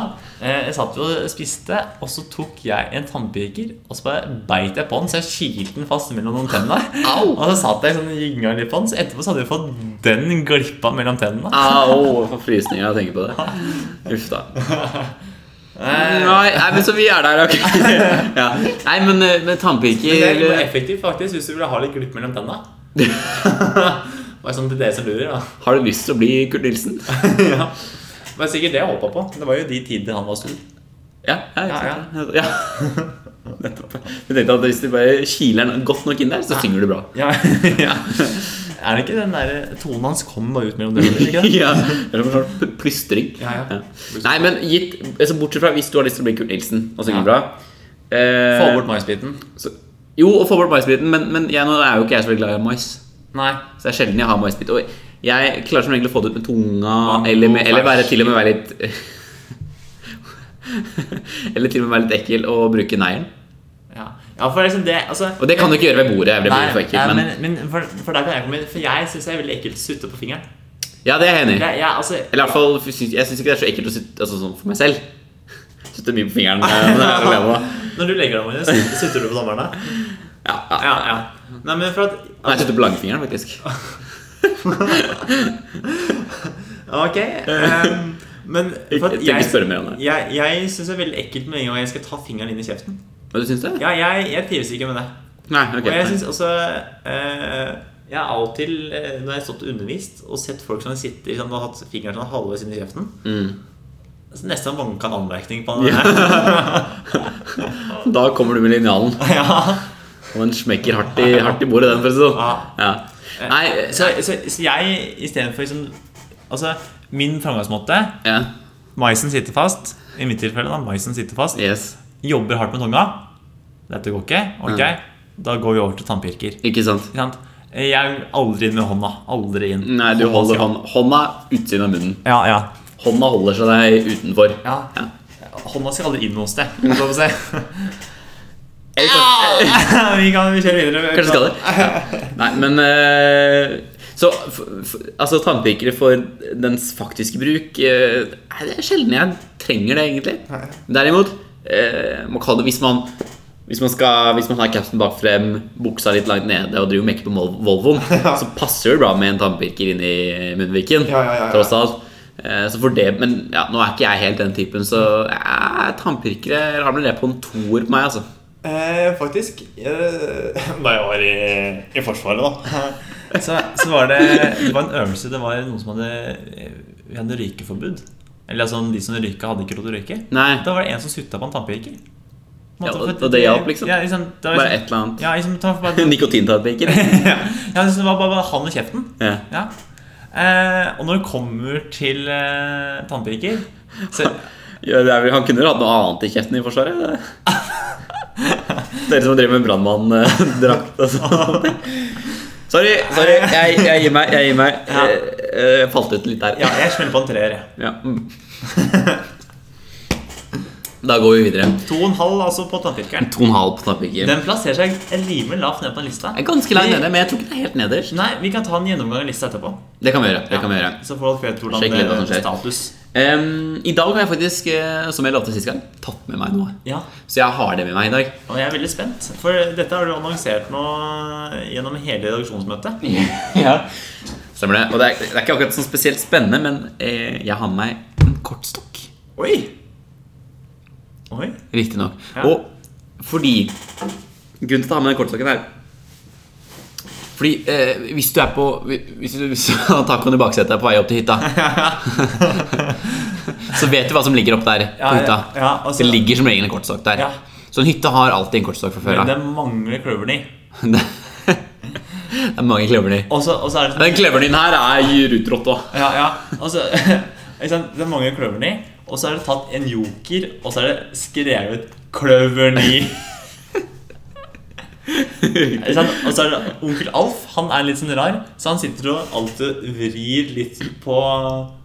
B: eh, jeg satt vi og spiste, og så tok jeg en tannpirker og så bare beit jeg på den, så jeg kilte den fast mellom noen tenner.
A: Au!
B: Og så satt jeg sånn og gynga litt på den, så etterpå så hadde jeg fått den glippa mellom tennene.
A: Au, for frysninger av å tenke på det. Uff da. Nei, nei, men så vi er der, ok. Ja. Nei, men eh, med
B: Men det er litt mer
A: tannpirker
B: effektivt faktisk hvis du vil ha litt glipp mellom tenna. Bare sånn til dere som lurer, da.
A: Har du lyst til å bli Kurt Nilsen?
B: ja. Det var sikkert det jeg håpa på. Det var jo de tider han var stor.
A: Ja. ja,
B: Ja,
A: ja, ja. Nettopp. Jeg tenkte at hvis du bare kiler den godt nok inn der, så synger du bra.
B: Ja, ja. Er det ikke den der eh, tonen hans kommer bare ut mellom dørene? er det ikke det?
A: ja, det er som en sånn pl- plystring.
B: Ja, ja.
A: Nei, men gitt, altså bortsett fra hvis du har lyst til å bli Kurt Nilsen og synge
B: Ja.
A: bra eh,
B: Få bort maisbiten.
A: så, Jo, og få bort maisbiten, men, men jeg, nå er jo ikke jeg så veldig glad i mais.
B: Nei.
A: Så det er sjelden jeg har maisbit. Og jeg klarer som regel å få det ut med tunga,
B: Ja,
A: eller, med,
B: og
A: eller være,
B: fersk.
A: til og med være litt Eller til og med være litt ekkel og bruke neglen.
B: Ja, ja for liksom det altså,
A: Og det kan du ikke gjøre ved bordet. Det blir for ekkelt,
B: nei,
A: men,
B: men, men for, for der kan jeg komme inn, for jeg syns det er veldig ekkelt å sutte på fingeren.
A: Ja, det er jeg enig i.
B: Jeg, jeg, altså,
A: Eller i hvert fall, syns- jeg syns ikke det er så ekkelt å sitte altså, sånn for meg selv. Sitte mye på fingeren eh, når jeg er alene. da.
B: Når du legger deg, Magnus, sitter- sitter du på dommerne?
A: Ja, ja.
B: Ja, ja. Nei, men for at
A: Nei, jeg sitter på langfingeren, faktisk.
B: Ok. ehm, men
A: Jeg
B: for at
A: trenger ikke spørre mer om det.
B: jeg, jeg syns det er veldig ekkelt med en gang jeg skal ta fingeren inn i kjeften.
A: Hva du syns du?
B: Ja, jeg, jeg trives ikke med det.
A: Nei, ok.
B: Og jeg
A: Nei.
B: syns også eh, Jeg har av og til, eh, når jeg har stått og undervist og sett folk som sitter sånn, og har hatt fingeren sånn halvveis inn i kjeften
A: Mm.
B: så Nesten vanka en anmerkning på den.
A: Da kommer du med linjalen.
B: Ja.
A: Og den smekker hardt i, hardt i bordet, den, for å si det
B: Ah.
A: sånn. Ja. Nei,
B: Så, så, så jeg istedenfor liksom Altså, min framgangsmåte
A: ja.
B: Maisen sitter fast. I mitt tilfelle, da. Maisen sitter fast.
A: Yes.
B: Jobber hardt med tunga. Dette går ikke. Ok, da går vi over til tannpirker. Ikke
A: Ikke sant?
B: sant? Jeg aldri inn med hånda. Aldri inn.
A: Nei, du holder
B: skal-
A: hånda, hånda utsiden av munnen.
B: Ja, ja.
A: Hånda holder seg deg utenfor.
B: ja.
A: Ja.
B: Hånda skal aldri inn noe sted. Lov å si. Vi kan vi kjører videre.
A: Kanskje skal det. Ja. Nei, men eh, Så f f altså, tannpirkere for dens faktiske bruk eh, nei, Det er sjelden jeg trenger det, egentlig. Derimot eh, man kan det hvis man hvis man, skal, hvis man har capsen bak frem, buksa litt langt nede og driver og mekker på Mol- Volvoen, så passer det bra med en tannpirker inn i munnviken.
B: Ja, ja, ja, ja.
A: Tross alt. Eh, Så for det, men ja, nå er ikke jeg helt den typen, så eh, tannpirkere har vel det på en toer på meg, altså.
B: Eh, faktisk eh, Da jeg var i, i Forsvaret, da så, så var det Det var en øvelse Det var noen som hadde Vi hadde røykeforbud. Eller altså, de som røyka, hadde ikke lov til å røyke.
A: Nei.
B: Da var det en som sutta på en tannpirker. På en måte,
A: Ja, og-
B: for at
A: og det hjalp, liksom?
B: Ja, liksom, det var
A: Bare
B: liksom-
A: et eller annet.
B: Ja, liksom, ta, bare,
A: Nikotintannpirker.
B: ja, liksom, det var bare, bare han og kjeften.
A: Ja.
B: Ja. Eh, og når det kommer til eh, tannpirker så,
A: Ja, det er vel, han kunne vel hatt noe annet i kjeften i Forsvaret. Det. Dere som driver med brannmanndrakt og sånn. Sorry, sorry, jeg, jeg gir meg. Jeg gir meg.
B: Ja.
A: Jeg, jeg falt ut litt der.
B: Ja, jeg smeller på en treer. jeg.
A: Ja, mm. Da går vi videre.
B: To og en halv altså på tannpirkeren.
A: To og en halv på tannpirker.
B: Den plasserer seg rimelig lavt ned på den lista.
A: Jeg er Ganske langt nede, men jeg tror ikke det er helt nederst.
B: Nei, Vi kan ta en gjennomgang av lista etterpå.
A: Det kan vi gjøre. det kan vi gjøre
B: Så får folk vite hvordan
A: Sjekk litt hva som
B: det
A: skjer.
B: status.
A: Em, I dag har jeg faktisk, eh, som jeg lovte sist gang, tatt med meg noe.
B: Ja,
A: Så jeg har det med meg i dag.
B: og jeg er veldig spent. For dette har du annonsert nå eh, gjennom hele redaksjonsmøtet.
A: Stemmer det. Og det er, det er ikke akkurat sånn spesielt spennende, men eh, jeg har med meg en kortstokk.
B: Oi! Oi.
A: Riktignok.
B: Ja.
A: Og fordi Grunnen til å ta med den kortstokken her Fordi eh, hvis du er på Hvis du, hvis du har tacoen i baksetet på vei opp til hytta Så vet du hva som ligger opp der på
B: Ja, ja,
A: hytta.
B: ja, altså-
A: det ligger som regel en kortstokk der.
B: Ja.
A: Så en hytte har alltid en kortstokk fra før
B: Men det
A: av.
B: er mange kløver i.
A: Det er mange kløver i.
B: Og så og så er det sånn
A: Den kløveren din her er rutrått òg.
B: Ja, ja. Og så Altså, ikke sant, Det er mange kløver i. Og så er det tatt en joker, og så er det skrevet 'Kløverni'. Ikke sant? Og så er det onkel Alf. Han er litt sånn rar, så han sitter og alltid vrir litt på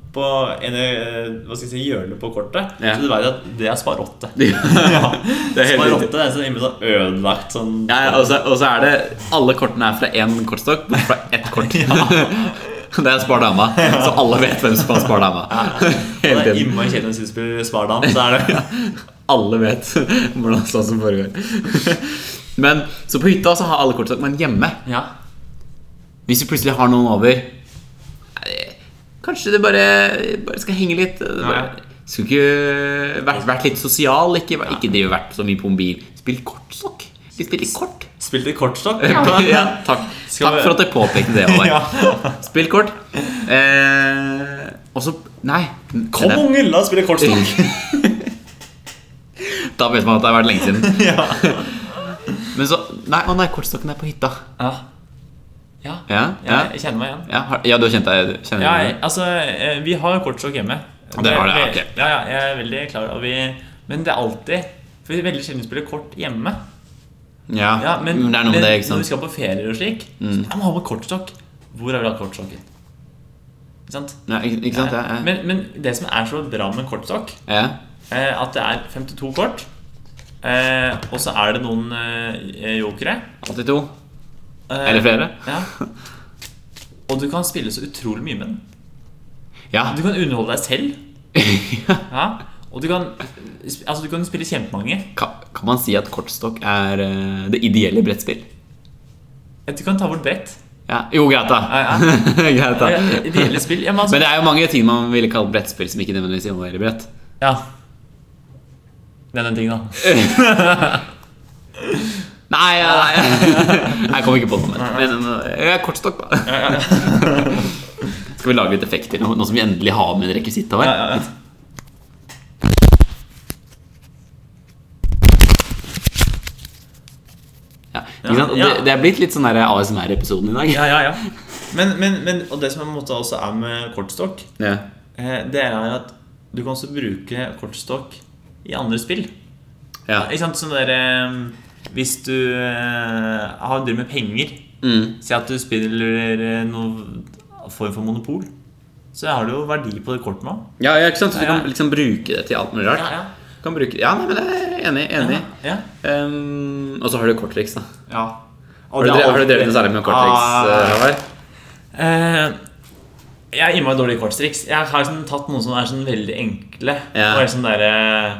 B: på en eh, hva skal jeg si, hjørne på kortet.
A: Ja.
B: Så du vet at det er sparotte.
A: Ja, det er helt riktig.
B: Sparotte er sånn innimellom sånn ødelagt sånn
A: Ja, ja, og, så, og så er det Alle kortene er fra én kortstokk, men fra ett kort. Det er Spar dama, så alle vet hvem som har Spar dama.
B: Og
A: Hele
B: det er
A: tiden.
B: innmari kjedelig når du spiller Spardam, så er det
A: Alle vet hvordan sånn som foregår. Men Så på hytta så har alle kortstokk, men hjemme,
B: Ja.
A: hvis vi plutselig har noen over eh, Kanskje det bare, bare skal henge litt. eh,
B: Ja.
A: Bare, skulle ikke vært, vært litt sosial, ikke, ikke drive vært så mye på mobil. Spill kortstokk. Vi spiller kort.
B: Spilte kortstokk.
A: ja, takk.
B: Skal
A: takk
B: vi-
A: for at jeg påpekte det. Håvard.
B: Ja.
A: Spill kort. Eh, og så Nei.
B: Kom,
A: det-
B: unge, la oss spille kortstokk!
A: Da vet man at det har vært lenge siden.
B: ja.
A: Men så Nei, å nei, kortstokken er på hytta.
B: Ja. Ja.
A: Ja, ja.
B: Jeg kjenner meg igjen.
A: Ja, har, ja du har kjent deg kjenner
B: Ja,
A: deg igjen?
B: altså, eh, vi har kortstokk hjemme.
A: Dere har det,
B: Vi-
A: ok.
B: Ja, ja, jeg er veldig klar over vi, Men det er alltid For vi veldig sjelden spiller kort hjemme.
A: Ja, Mm,
B: Ja, men,
A: det er noe med
B: men
A: det, ikke
B: når vi
A: sant? Mm.
B: skal på ferier og slik, så jeg må ha med kortstokk. Hvor har vi hatt kortstokken? Ikke sant?
A: Ja, ikke, ikke sant? Ja, ja.
B: Men, men det som er så bra med kortstokk,
A: ja.
B: eh, at det er 52 kort, eh, og så er det noen eh, jokere.
A: 82.
B: eh,
A: Eller flere?
B: Ja. Og du kan spille så utrolig mye med den.
A: Ja.
B: Du kan underholde deg selv. Ja. Og du kan, altså, du kan spille kjempemange.
A: Kan, kan man si at kortstokk er eh, det ideelle brettspill?
B: Du kan ta bort brett.
A: Ja. Jo, greit, da.
B: Ja, ja.
A: greit, da.
B: Ja, Ideelle spill. Ja, men altså,
A: Men det er jo mange ting man ville kalt brettspill som ikke nødvendigvis involverer brett.
B: ja. Det er den tingen, da.
A: Nei, ja, nei. jeg kom ikke på noe. Men, men eh, ja, kortstokk, da. Skal vi lage litt effekter nå, nå som vi endelig har med en rekvisitt av
B: Ja,
A: her?
B: ja, ja.
A: Ja. Ikke sant? Og
B: Ja.
A: Det, det er blitt litt sånn der ASMR-episoden i dag.
B: ja, ja, ja. Men, men, men og det som på en måte også er med kortstokk,
A: Ja.
B: eh, det er at du kan også bruke kortstokk i andre spill.
A: Ja.
B: Ikke sant, sånn der, eh, Hvis du eh, har driver med penger,
A: Mm.
B: si at du spiller eh, noe form for monopol, så har du jo verdi på det kortet nå.
A: ja, ja, ikke sant? Så du
B: Ja, ja.
A: kan liksom bruke det til alt mulig rart.
B: ja.
A: Du Kan bruke, ja, nei, men jeg er enig. enig.
B: ja.
A: Ehm, og så har du korttriks, da.
B: ja.
A: Har du, dre- har du drevet noe særlig med korttriks?
B: Ah.
A: eh, Håvard?
B: Eh, jeg er innmari dårlig i kortstriks. Jeg har liksom tatt noen som er sånn veldig enkle.
A: Ja.
B: Og er sånn der, eh,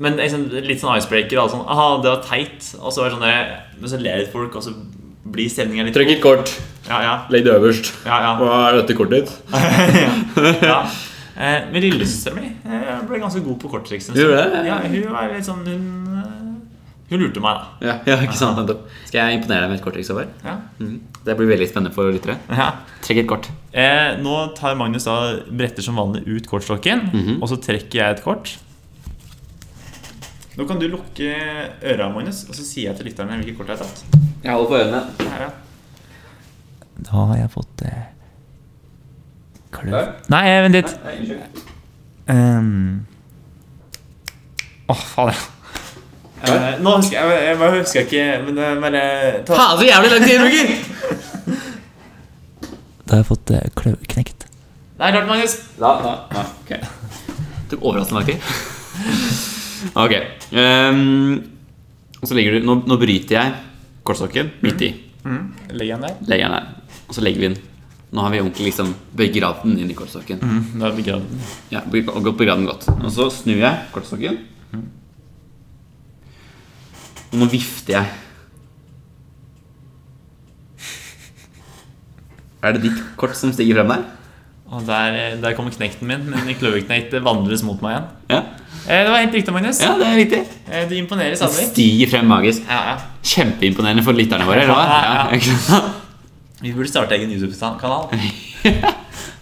B: men liksom, litt sånn icebreaker. Og sånn, Aha, det var teit. Og så, er det sånn der, men så ler litt folk, og så blir stemninga litt
A: Trykk et kort.
B: Ja, ja,
A: Legg det øverst.
B: ja, ja,
A: Hva er dette kortet ditt?
B: ja. Eh, Men lillesøstera mi eh, ble ganske god på korttriks. en stund.
A: Gjorde det?
B: Ja, hun var litt sånn Hun, eh, hun lurte meg, da.
A: Ja, ja, ikke sant, nettopp. Skal jeg imponere deg med et korttriks? Håvard?
B: Ja.
A: Det blir veldig spennende for lyttere.
B: Ja.
A: Mm. Trekk et kort.
B: Eh, nå tar Magnus da bretter som vanlig ut kortstokken,
A: Mhm.
B: og så trekker jeg et kort. Nå kan du lukke øra, Magnus, og så sier jeg til lytterne hvilke kort jeg har tatt.
A: Jeg holder på ørene.
B: Her, ja. Da har jeg fått eh, kløv... Nei, eh, vent litt. Ehm. Åh, fader. Eh, nå husker jeg, jeg, bare husker jeg ikke Men det er bare ta,
A: Faen, så jævlig lang tid det bruker!
C: Da har jeg fått eh, klø knekt.
B: Det er klart, Magnus.
A: Da, da, da. Ok. Du overraskende lang tid. Ok. ehm, og så legger du Nå, nå bryter jeg kortstokken midt i.
B: Legg den der.
A: Legger den der. Og så legger vi den. Nå har vi ordentlig liksom begravd den inn i kortstokken.
B: Mm, da begravde den.
A: Ja, be- godt begravd den godt. Og så snur jeg kortstokken. Og nå vifter jeg. Er det ditt kort som stiger frem der?
B: Og der, eh, der kommer knekten min, men kløverknekt vandres mot meg igjen.
A: Ja,
B: Eh, Det var helt riktig, Magnus.
A: ja det er riktig.
B: Eh, Du imponerer
A: Det
B: stadig.
A: stiger frem magisk.
B: Ja, ja.
A: Kjempeimponerende for lytterne våre. eller hva? Ja, ikke sant?
B: Vi burde starte egen YouTube-kanal.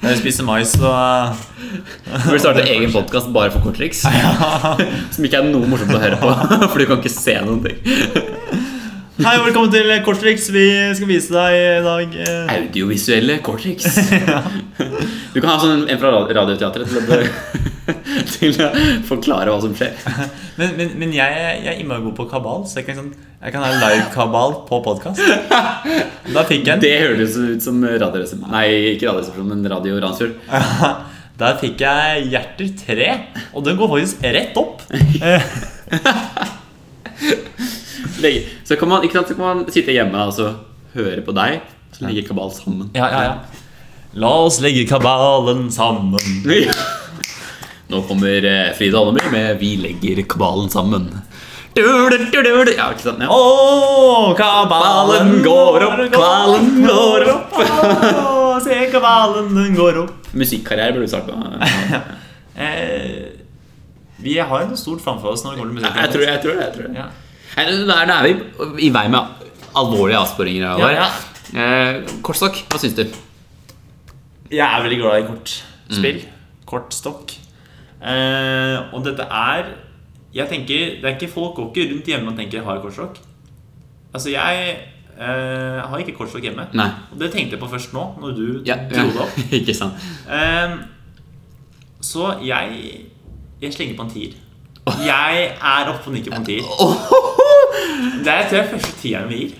B: Når vi spiser mais eh. og
A: Vi burde starte egen podkast bare for korttriks. Som ikke er noe morsomt å høre på, for du kan ikke se noen ting.
B: Hei, velkommen til Kortflix. Vi skal vise deg i dag eh,
A: Audiovisuelle korttriks. Du kan ha sånn en fra rad- Radioteatret til å, be- til å forklare hva som skjer.
B: Men, men, men jeg, jeg er innmari god på kabal, så jeg kan, sånn, jeg kan ha live-kabal på podkast. Da fikk jeg en
A: Det høres ut som Radioresepsjonen. Nei, ikke Radioresepsjonen, men Radio Ransfjord.
B: Der fikk jeg hjerter tre, og den går faktisk rett opp. Eh,
A: Legge- Så kan man, ikke sant, så kan man sitte hjemme og så høre på deg, så ligger kabal sammen.
B: Ja, ja, ja. La oss legge kabalen sammen.
A: Nå kommer eh, Frida Allemyr med 'Vi legger kabalen sammen'. Du, du, du, du, du. Ja, ikke sant? Ja.
B: Åh, kabalen går opp, kvalen går opp. Åh, se kabalen, den går opp.
A: Musikkarriere burde du starte med.
B: Eh, vi har jo noe stort framfor oss når det kommer til musikk.
A: Jeg tror, jeg tror det. jeg tror det
B: Ja.
A: Nei, Nå er nå er vi i vei med alvorlige avsporinger.
B: Ja,
A: Alvar. Eh, Kortstokk, hva syns du?
B: Jeg er veldig glad i kortspill. Kortstokk. Eh, og dette er Jeg tenker, det er ikke Folk går ikke rundt hjemme og tenker 'har jeg kortstokk'. Altså, jeg eh, har ikke kortstokk hjemme.
A: Nei.
B: Og det tenkte jeg på først nå, når du
A: Ja,
B: dro det opp.
A: Ikke sant?
B: Ehm, så jeg Jeg slenger på en tier. Jeg er oppe og nikker på en tier. Det er tror jeg første tieren vi gir.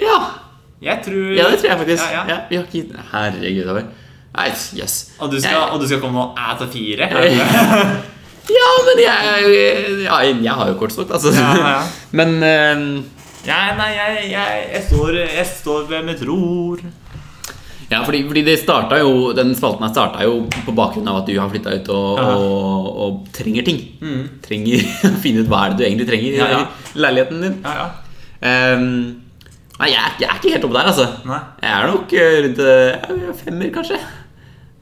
A: Ja,
B: Jeg tror
A: ja det tror jeg faktisk.
B: Ja,
A: Ja,
B: ja.
A: vi har ikke gitt Herregud, Alvar. Nei, yes.
B: Og, du skal, og du skal komme og æte fire? er det det?
A: Ja, men jeg, ja, jeg har jo kortstokk, altså.
B: Ja, ja.
A: Men eh,
B: Ja, nei, jeg, jeg, jeg, står, jeg står ved mitt ror.
A: Ja, fordi, fordi det starta jo Den spalten her starta jo på bakgrunn av at du har flytta ut og,
B: Ja. Mm.
A: og, og trenger ting. Trenger å finne ut hva er det du egentlig trenger i
B: Ja, ja.
A: leiligheten din.
B: Ja, ja.
A: Ehm, nei, jeg, er- jeg er ikke helt oppe der, altså.
B: Nei.
A: Jeg er nok eh, rundt eh, femmer, kanskje.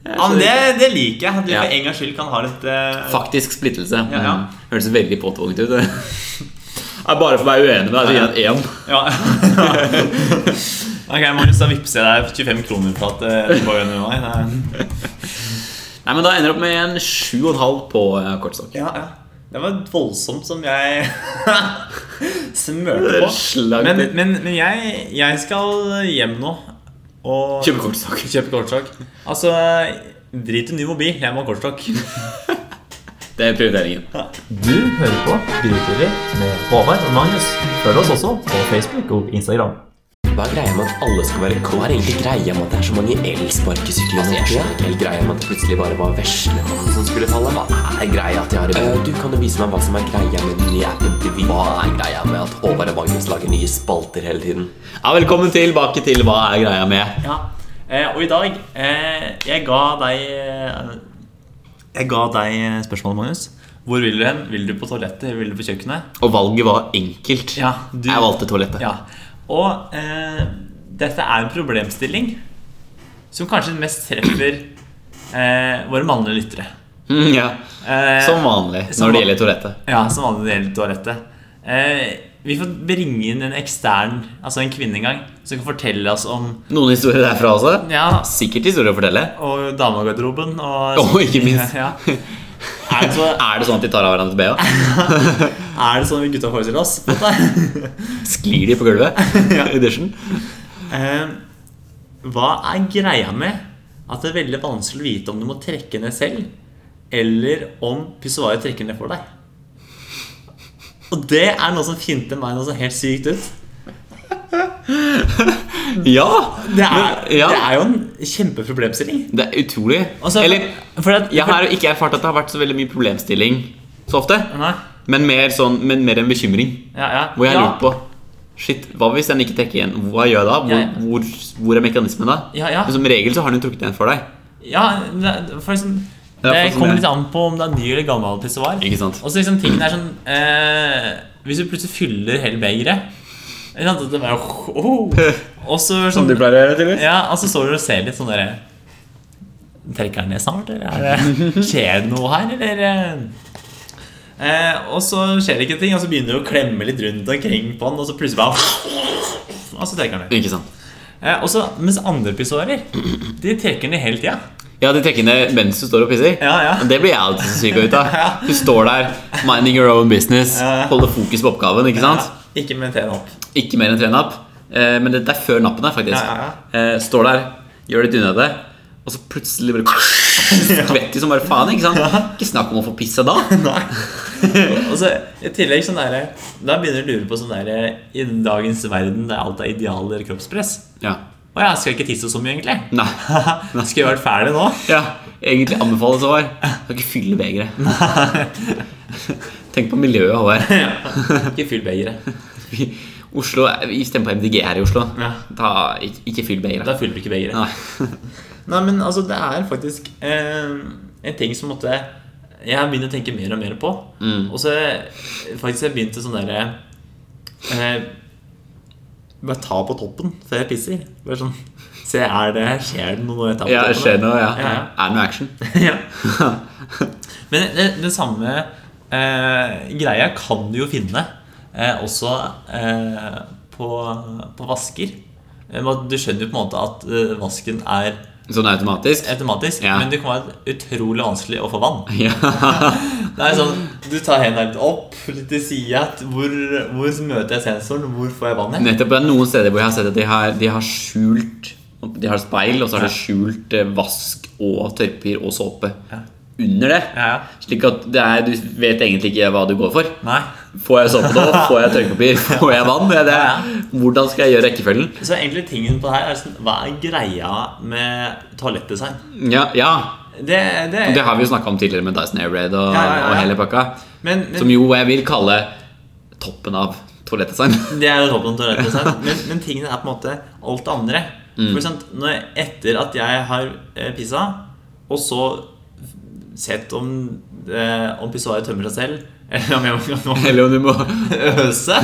A: Jeg er
B: Ja,
A: så-
B: men det, det liker jeg. At vi
A: Ja.
B: for en gangs skyld kan ha litt eh,
A: Faktisk splittelse.
B: Ja, ja.
A: Mm. Høres veldig påtvunget ut. Det er bare for å være uenig med deg, så gir jeg en én.
B: Ja. ok, Magnus, da vippser jeg deg 25 kroner for at eh, du var enig med meg. Det,
A: Nei, men da ender jeg opp med en sju og en halv på eh, kortstokk.
B: er- ja, ja. det var voldsomt som jeg
A: Det
B: smørte
A: er
B: på.
A: slag
B: Men,
A: til.
B: men, men jeg, jeg skal hjem nå og
A: Kjøpe kortstokk.
B: kjøpe kortstokk. Altså, drit i ny mobil. Jeg må ha kortstokk.
A: Det er prioriteringen.
B: Du hører på Bilteori med Håvard og Magnus. Følg oss også på Facebook og Instagram.
D: Hva er greia med at alle skal være coach? Hva er egentlig greia med at det er så mange elsparkesykler i Norge? Jeg skjønner ikke helt greia med at det plutselig bare var veslemannen som skulle falle. Hva er greia at de har en Du kan jo vise meg hva som er greia med den nye appen til Vy. Hva er greia med at Håvard og Magnus lager nye spalter hele tiden?
A: Ja, Velkommen tilbake til Hva er greia med?
B: Ja, eh, og i dag eh, Jeg ga deg eh, Jeg ga deg spørsmålet, Magnus. Hvor vil du hen? Vil du på toalettet? Vil du på kjøkkenet?
A: Og valget var enkelt.
B: Ja, du-
A: Jeg valgte toalettet.
B: Ja. Og eh, dette er en problemstilling som kanskje mest treffer eh, våre mannlige lyttere.
A: Mm, ja.
B: Eh,
A: Som vanlig når
B: som
A: det
B: van-
A: gjelder toalettet.
B: Ja, som vanlig når det gjelder toalettet. Eh, vi får bringe inn en ekstern, altså en kvinne en gang, som kan fortelle oss om
A: Noen historier derfra også.
B: Ja,
A: Sikkert historier å fortelle.
B: og damegarderoben og
A: Og ikke minst.
B: Ja. Er det så
A: Er det sånn at de tar av hverandre BH?
B: Er det sånn vi gutta forestiller oss? på en måte?
A: Sklir de på gulvet?
B: Ja.
A: I dusjen?
B: Eh, Hva er greia med at det er veldig vanskelig å vite om du må trekke ned selv, eller om pissoaret trekker ned for deg? Og det er noe som finter meg noe så helt sykt ut.
A: Ja!
B: Det er,
A: Men- ja.
B: det er jo en kjempeproblemstilling.
A: Det er utrolig.
B: Altså,
A: Eller
B: for at,
A: Jeg har ikke erfart at det har vært så veldig mye problemstilling så ofte.
B: Nei,
A: Men mer, sånn, men mer en bekymring.
B: ja, ja.
A: Hvor jeg
B: ja,
A: lurer på Shit, hva hvis den ikke trekker igjen? Hva gjør jeg da? Hvor,
B: Ja, ja.
A: hvor, hvor er mekanismen da?
B: Ja, ja.
A: Men som regel så har den jo trukket igjen for deg.
B: Ja, det- for liksom,
A: Ja, for
B: det
A: sånn
B: kommer
A: det-
B: litt an på om det er ny eller gammel pissoar.
A: Ikke sant?
B: Og så liksom tingen er sånn eh, Hvis du plutselig fyller hele begeret ikke sant, at det bare, oh, oh. Og så sånn,
A: pleier å gjøre, tydeligvis.
B: ja, og så står du og ser litt sånn derre Trekker den ned snart, eller er det, skjer det noe her, eller eh? eh, Og så skjer det ikke ting, og så begynner du å klemme litt rundt omkring på den, og så plutselig bare Og så trekker den ned.
A: Ikke sant?
B: Eh, og så, mens andre pissoarer, de trekker ned hele tida.
A: Ja, de trekker ned mens du står og pisser.
B: Ja, ja.
A: Det blir jeg alltid så syk ut av. Du står der, minding your own business,
B: Ja, ja.
A: holder fokus på oppgaven. Ikke sant?
B: Ikke med tennene opp.
A: Ikke mer enn tre napp. Eh, men dette er før nappen, her, faktisk.
B: Ja, ja,
A: Eh, står der, gjør litt unna det, og så plutselig bare skvetter du som bare faen. Ikke sant? Ikke snakk om å få pisse da.
B: Og så i tillegg sånn der, Da begynner du å lure på sånn der I dagens verden der alt er idealer og kroppspress
A: Ja.
B: Å ja, skal jeg ikke tisse så mye egentlig?
A: Nei.
B: Skal jeg være ferdig nå?
A: Ja, egentlig anbefales Håvard. Skal ikke fylle begeret. Tenk på miljøet, Håvard.
B: Ikke fyll begeret
A: Vi- Oslo, er- vi stemmer på MDG her i Oslo.
B: Ja.
A: Ta, ikke, ikke fyll
B: Da
A: begeret.
B: fyller du ikke begeret
A: Nei.
B: Nei, men altså det er faktisk eh, En ting som måtte Jeg har begynt å tenke mer og mer på
A: Mm.
B: Og så faktisk jeg begynte sånn der eh, Bare ta på toppen Før jeg pisser Bare sånn Se, er det, skjer det noe når jeg tar på
A: Ja,
B: toppen?
A: det skjer noe, ja.
B: Ja, ja.
A: Er det noe action?
B: ja. Men det, det samme eh, greia kan du jo finne eh, også eh, på, på vasker. Eh, men Du skjønner jo på en måte at eh, vasken er
A: Sånn automatisk?
B: automatisk,
A: Ja.
B: men det kan være utrolig vanskelig å få vann.
A: Ja.
B: Det er sånn, Du tar hendene litt opp, litt til sida. Hvor, hvor møter jeg sensoren? Hvor får jeg vann? her?
A: Nettopp det er noen steder hvor jeg har sett at de har, de har skjult De har speil, og så har de skjult eh, vask og tørrpapir og såpe under det.
B: Ja, ja.
A: Slik at det er, du vet egentlig ikke hva du går for.
B: Nei.
A: Får jeg såpe nå? Får jeg tørrpapir? Får jeg vann? Det er det. Hvordan skal jeg gjøre rekkefølgen?
B: Så egentlig tingen på det her er sånn, Hva er greia med toalettdesign?
A: Ja, ja.
B: Det, det,
A: Det har vi jo snakka om tidligere med Dyson Airbraid og,
B: Ja, ja, ja, ja.
A: og hele pakka.
B: men, men,
A: Som jo jeg vil kalle toppen av toalettdesign.
B: Det er jo toppen av toalettet, sant? Men, men tingene er på en måte alt det andre.
A: Mm.
B: For sant, når jeg, etter at jeg har eh, pissa, og så sett om, eh, om pissoaret tømmer seg selv, eller om jeg må
A: Eller om du må
B: øse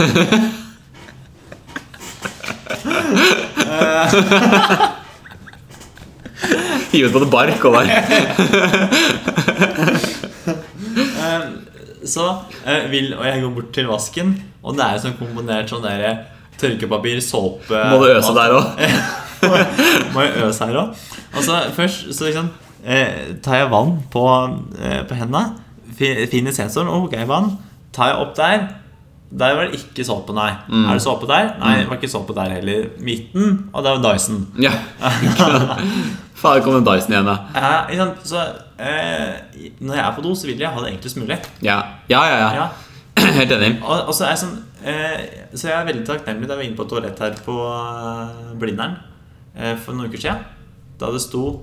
A: hive ut på det bark og bare
B: Så eh, vil Og jeg går bort til vasken, og det er sånn komponert sånn derre tørkepapir, såpe
A: Må du øse der òg?
B: må jeg- må jeg øse her òg. Og så først så liksom eh, tar jeg vann på, eh, på hendene. fi- Finner sensoren, og ok, vann. Tar jeg opp der. Der var det ikke såpe, nei. Er det såpe der? Nei, det var ikke såpe der heller. Midten, og der var Dyson.
A: Ja. Faen, kom den Dyson igjen, da.
B: Eh, ikke sant? Så eh, når jeg er på do, så vil jeg ha det enklest mulig.
A: Ja, ja, ja. ja.
B: Ja.
A: Helt enig.
B: Og, og så, er jeg sånn, eh, så jeg er veldig takknemlig da vi var inne på et toalett her på eh, Blindern eh, for noen uker siden. Da det sto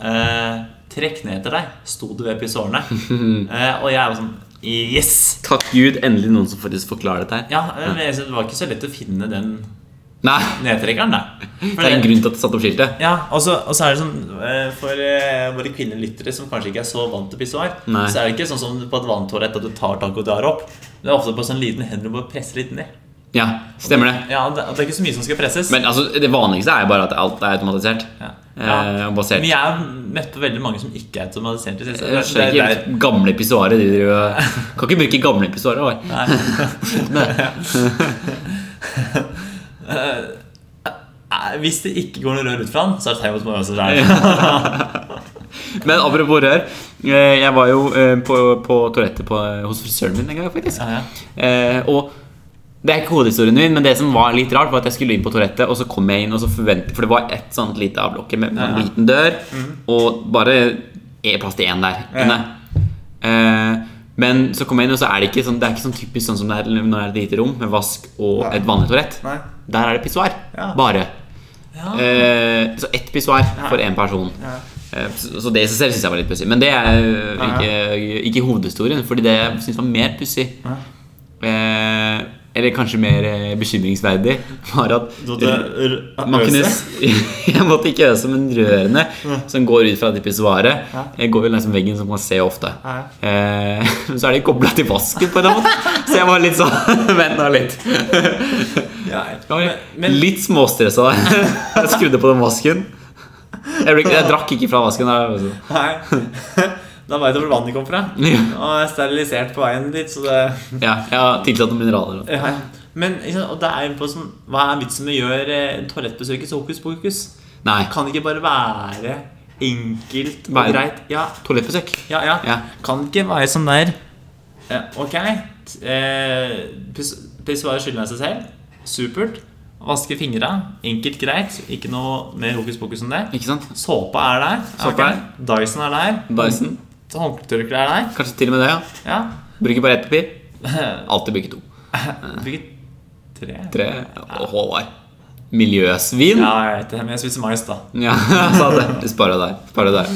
B: eh, 'Trekk ned etter deg', sto det ved pissoarene. eh, og jeg var sånn Yes!
A: Takk Gud, endelig noen som faktisk forklarer dette her.
B: Ja, eh, men jeg synes Det var ikke så lett å finne den
A: Nei,
B: nedtrekkeren, da. For
A: det er en
B: det-
A: grunn til at det satt opp skiltet.
B: Ja, og så, og så er det sånn eh, For eh, våre kvinnelyttere som kanskje ikke er så vant til pissoar,
A: Nei.
B: så er det ikke sånn som på et vanntoalett at du tar tak og drar opp. Det er ofte på sånn liten hender du bare presser litt ned.
A: Ja, stemmer det.
B: Ja, det, det er ikke så mye som skal presses.
A: Men altså, det vanligste er jo bare at alt er automatisert.
B: ja. Ja.
A: Eh, og basert Eh,
B: Men jeg har møtt på veldig mange som ikke er automatisert. i selskapet.
A: Jeg skjønner
B: Det
A: ikke
B: er-
A: hvilket gamle pissoaret de driver og- Kan ikke bruke gamle pissoaret. oi.
B: Nei, Eh, Hvis det ikke går noe rør ut fra den, så er det tegn på at man øser seg.
A: Men apropos rør. eh, Jeg var jo eh, på, på toalettet på, eh, hos frisøren min en gang, faktisk.
B: Ja, ja.
A: Eh, og det er ikke hovedhistorien min, men det som var litt rart, var at jeg skulle inn på toalettet, og så kom jeg inn, og så forventet For det var et sånt lite avlukke med med en liten dør,
B: Mhm.
A: og bare e- plass til én der inne. Eh, men så kom jeg inn, og så er det ikke sånn Det er ikke sånn typisk sånn som det er når det er et lite rom med vask og et vanlig toalett.
B: Nei.
A: Der er det pissoar.
B: Ja.
A: Bare.
B: Ja.
A: Eh, så ett pissoar for én person. Eh, Så så det i seg selv synes jeg var litt pussig. Men det er eh, ikke, ikke hovedhistorien. Fordi det jeg synes var mer pussig, eh, eller kanskje mer eh, bekymringsverdig, var at
B: Du måtte r-
A: man kunne,
B: øse.
A: s- jeg måtte ikke øse, men rørene som går ut fra det pissoaret, eh, går jo langs veggen, som man ser ofte. Eh, Men så er de kobla til vasken, på en eller annen måte. Så jeg var litt sånn Vent nå litt.
B: Ja,
A: Jeg var
B: men, men,
A: litt småstressa da jeg skrudde på den vasken. Jeg, ble, ikke- jeg drakk ikke fra vasken. Der.
B: nei. Da veit du hvor vannet kom fra. Og
A: Ja.
B: jeg er sterilisert på veien dit, så det
A: Ja, jeg har tilsatt noen mineraler. da.
B: ja. Men ikke sant, og det er jo på sånn, hva er vitsen med å gjøre eh, toalettbesøket så hokus pokus?
A: Nei.
B: Kan det ikke bare være enkelt og
A: Være-
B: greit? Ja,
A: Toalettbesøk.
B: Ja, ja.
A: Ja.
B: Kan ikke være sånn der eh, Ok, eh, piss- pissoaret skylder meg seg selv. Supert. Vaske fingra. Enkelt, greit. Ikke noe mer hokus pokus enn det.
A: Ikke sant?
B: Såpe er der.
A: Såpe
B: Ok.
A: er
B: Dyson er der.
A: Dyson.
B: Håndkletørkle er der.
A: Kanskje til og med det. ja
B: Ja.
A: Bruker bare ett papir. Alltid bruker to.
B: Hvilket tre?
A: Tre. Og Håvard. Miljøsvin.
B: Ja, jeg vet det, men jeg spiser mais, da.
A: Ja, sa det. Du sparer deg. Sparer deg.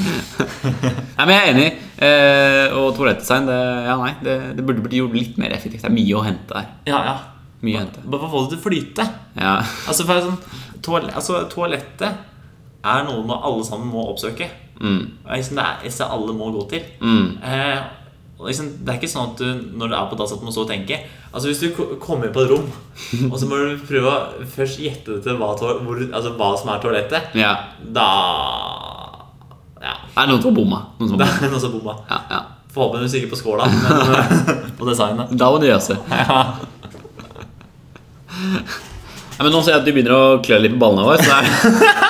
A: Nei, men jeg er enig. Eh, og toalettdesign, det, ja, nei, det, det burde blitt gjort litt mer effektivt. Det er mye å hente der.
B: Ja, ja.
A: Mye å hente.
B: Bare få det til å flyte.
A: Ja.
B: Altså, for det er sånn, toal altså Toalettet er noe man alle sammen må oppsøke.
A: Mm.
B: Og Liksom, det er disse alle må gå til. Eh, og liksom, det er ikke sånn at du når du er på dass, at du må stå og tenke. Altså Hvis du ko- kommer inn på et rom, og så må du prøve å først gjette deg til hva, toal- hvor, altså, hva som er toalettet,
A: ja.
B: da Ja.
A: Det er noen som har bomma. Noen som
B: Da
A: har bomma.
B: er det noen som bomma.
A: Ja, ja.
B: Forhåpentligvis ikke på skåla, men eh, på designet.
A: Da må du jøse. Nei, men nå ser jeg at du begynner å klø litt på ballene våre. Så det er...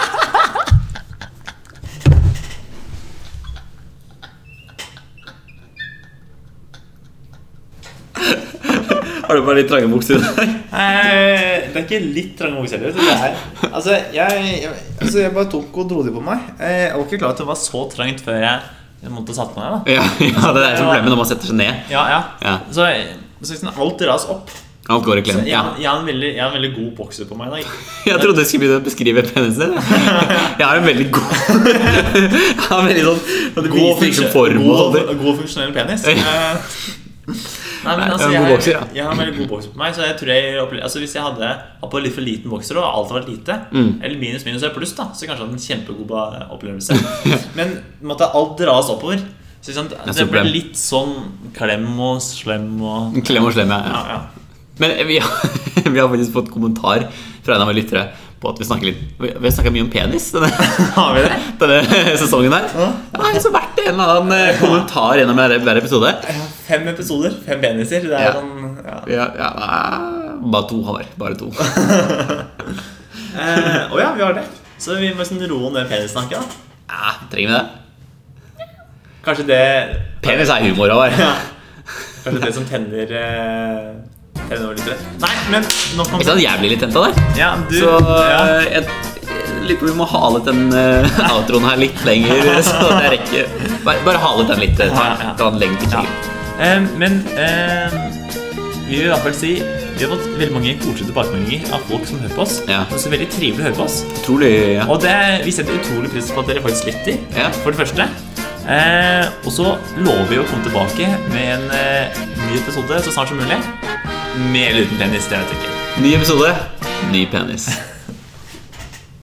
A: Har du bare litt trange bukser i dag?
B: Eh, Det er ikke litt trange bukser heller. Det er, altså, jeg, jeg, altså, jeg bare tok og dro de på meg. Eh, Jeg var ikke klar til at det var så trangt før jeg jeg måtte satt meg ned. da
A: Ja, ja, det er som problemet når man setter seg ned.
B: Ja, ja,
A: Ja.
B: Så, så liksom, alt ras opp.
A: Alt går i
B: Så
A: klem.
B: jeg,
A: Ja.
B: jeg, har en veldig, jeg har en veldig god bokser på meg i dag.
A: Jeg trodde du skulle begynne å beskrive penisen din. Jeg har en veldig god Jeg har en veldig sånn
B: God,
A: viser liksom form og
B: god,
A: sånt.
B: god funksjonell penis. Eh, Nei, men altså,
A: en
B: jeg,
A: god bokser, ja.
B: jeg har en veldig god bokser på meg. Så jeg tror jeg opple- altså, Hvis jeg hadde hatt på litt for liten bokser og alt har vært lite,
A: Mm.
B: eller minus minus er pluss, da så kanskje jeg hadde en kjempegod ba- opplevelse. men måtte alt dras oppover. Så ikke sant,
A: så
B: Det ble
A: klem.
B: litt sånn klem og slem og
A: sånn Klem og slem, ja.
B: Ja,
A: ja.
B: ja.
A: Men vi har, vi har faktisk fått kommentar fra en av våre lyttere på at vi snakker litt Vi vi har snakka mye om penis denne,
B: Har vi det?
A: denne sesongen her. Ja, det har så vært en eller annen eh, kommentar gjennom hver hver episode.
B: Fem episoder, fem peniser. Det er
A: Ja.
B: sånn ja.
A: Ja, ja, ah, bare to har. Bare to.
B: Eh, å ja, vi har det. Så vi må liksom roe ned penissnakket. da.
A: Ja, trenger vi det?
B: Kanskje det
A: Penis er humor, Håvard.
B: ja. Kanskje det som tenner eh, Tenner over litt rett. Nei, men nok om
A: Ikke sant, jeg blir litt tent av det.
B: Ja, du
A: Så
B: ja.
A: eh, jeg jeg lurer på om vi må hale ut den eh, outroen her litt lenger. Så jeg rekker Bare, bare hale ut den litt. eh, Ta,
B: Ja, ja.
A: ta den lenger til
B: Ja.
A: kjelen.
B: Eh, men eh, vi vil i hvert fall si vi har fått veldig mange koselige tilbakemeldinger av folk som hører på oss.
A: Ja.
B: Og så veldig trivelig å høre på oss.
A: Utrolig ja.
B: Og det, vi setter utrolig pris på at dere faktisk lytter,
A: Ja.
B: for det første. Eh, og så lover vi å komme tilbake med en eh, ny episode så snart som mulig. Med eller uten penis, det vet jeg ikke.
A: Ny episode, ny penis.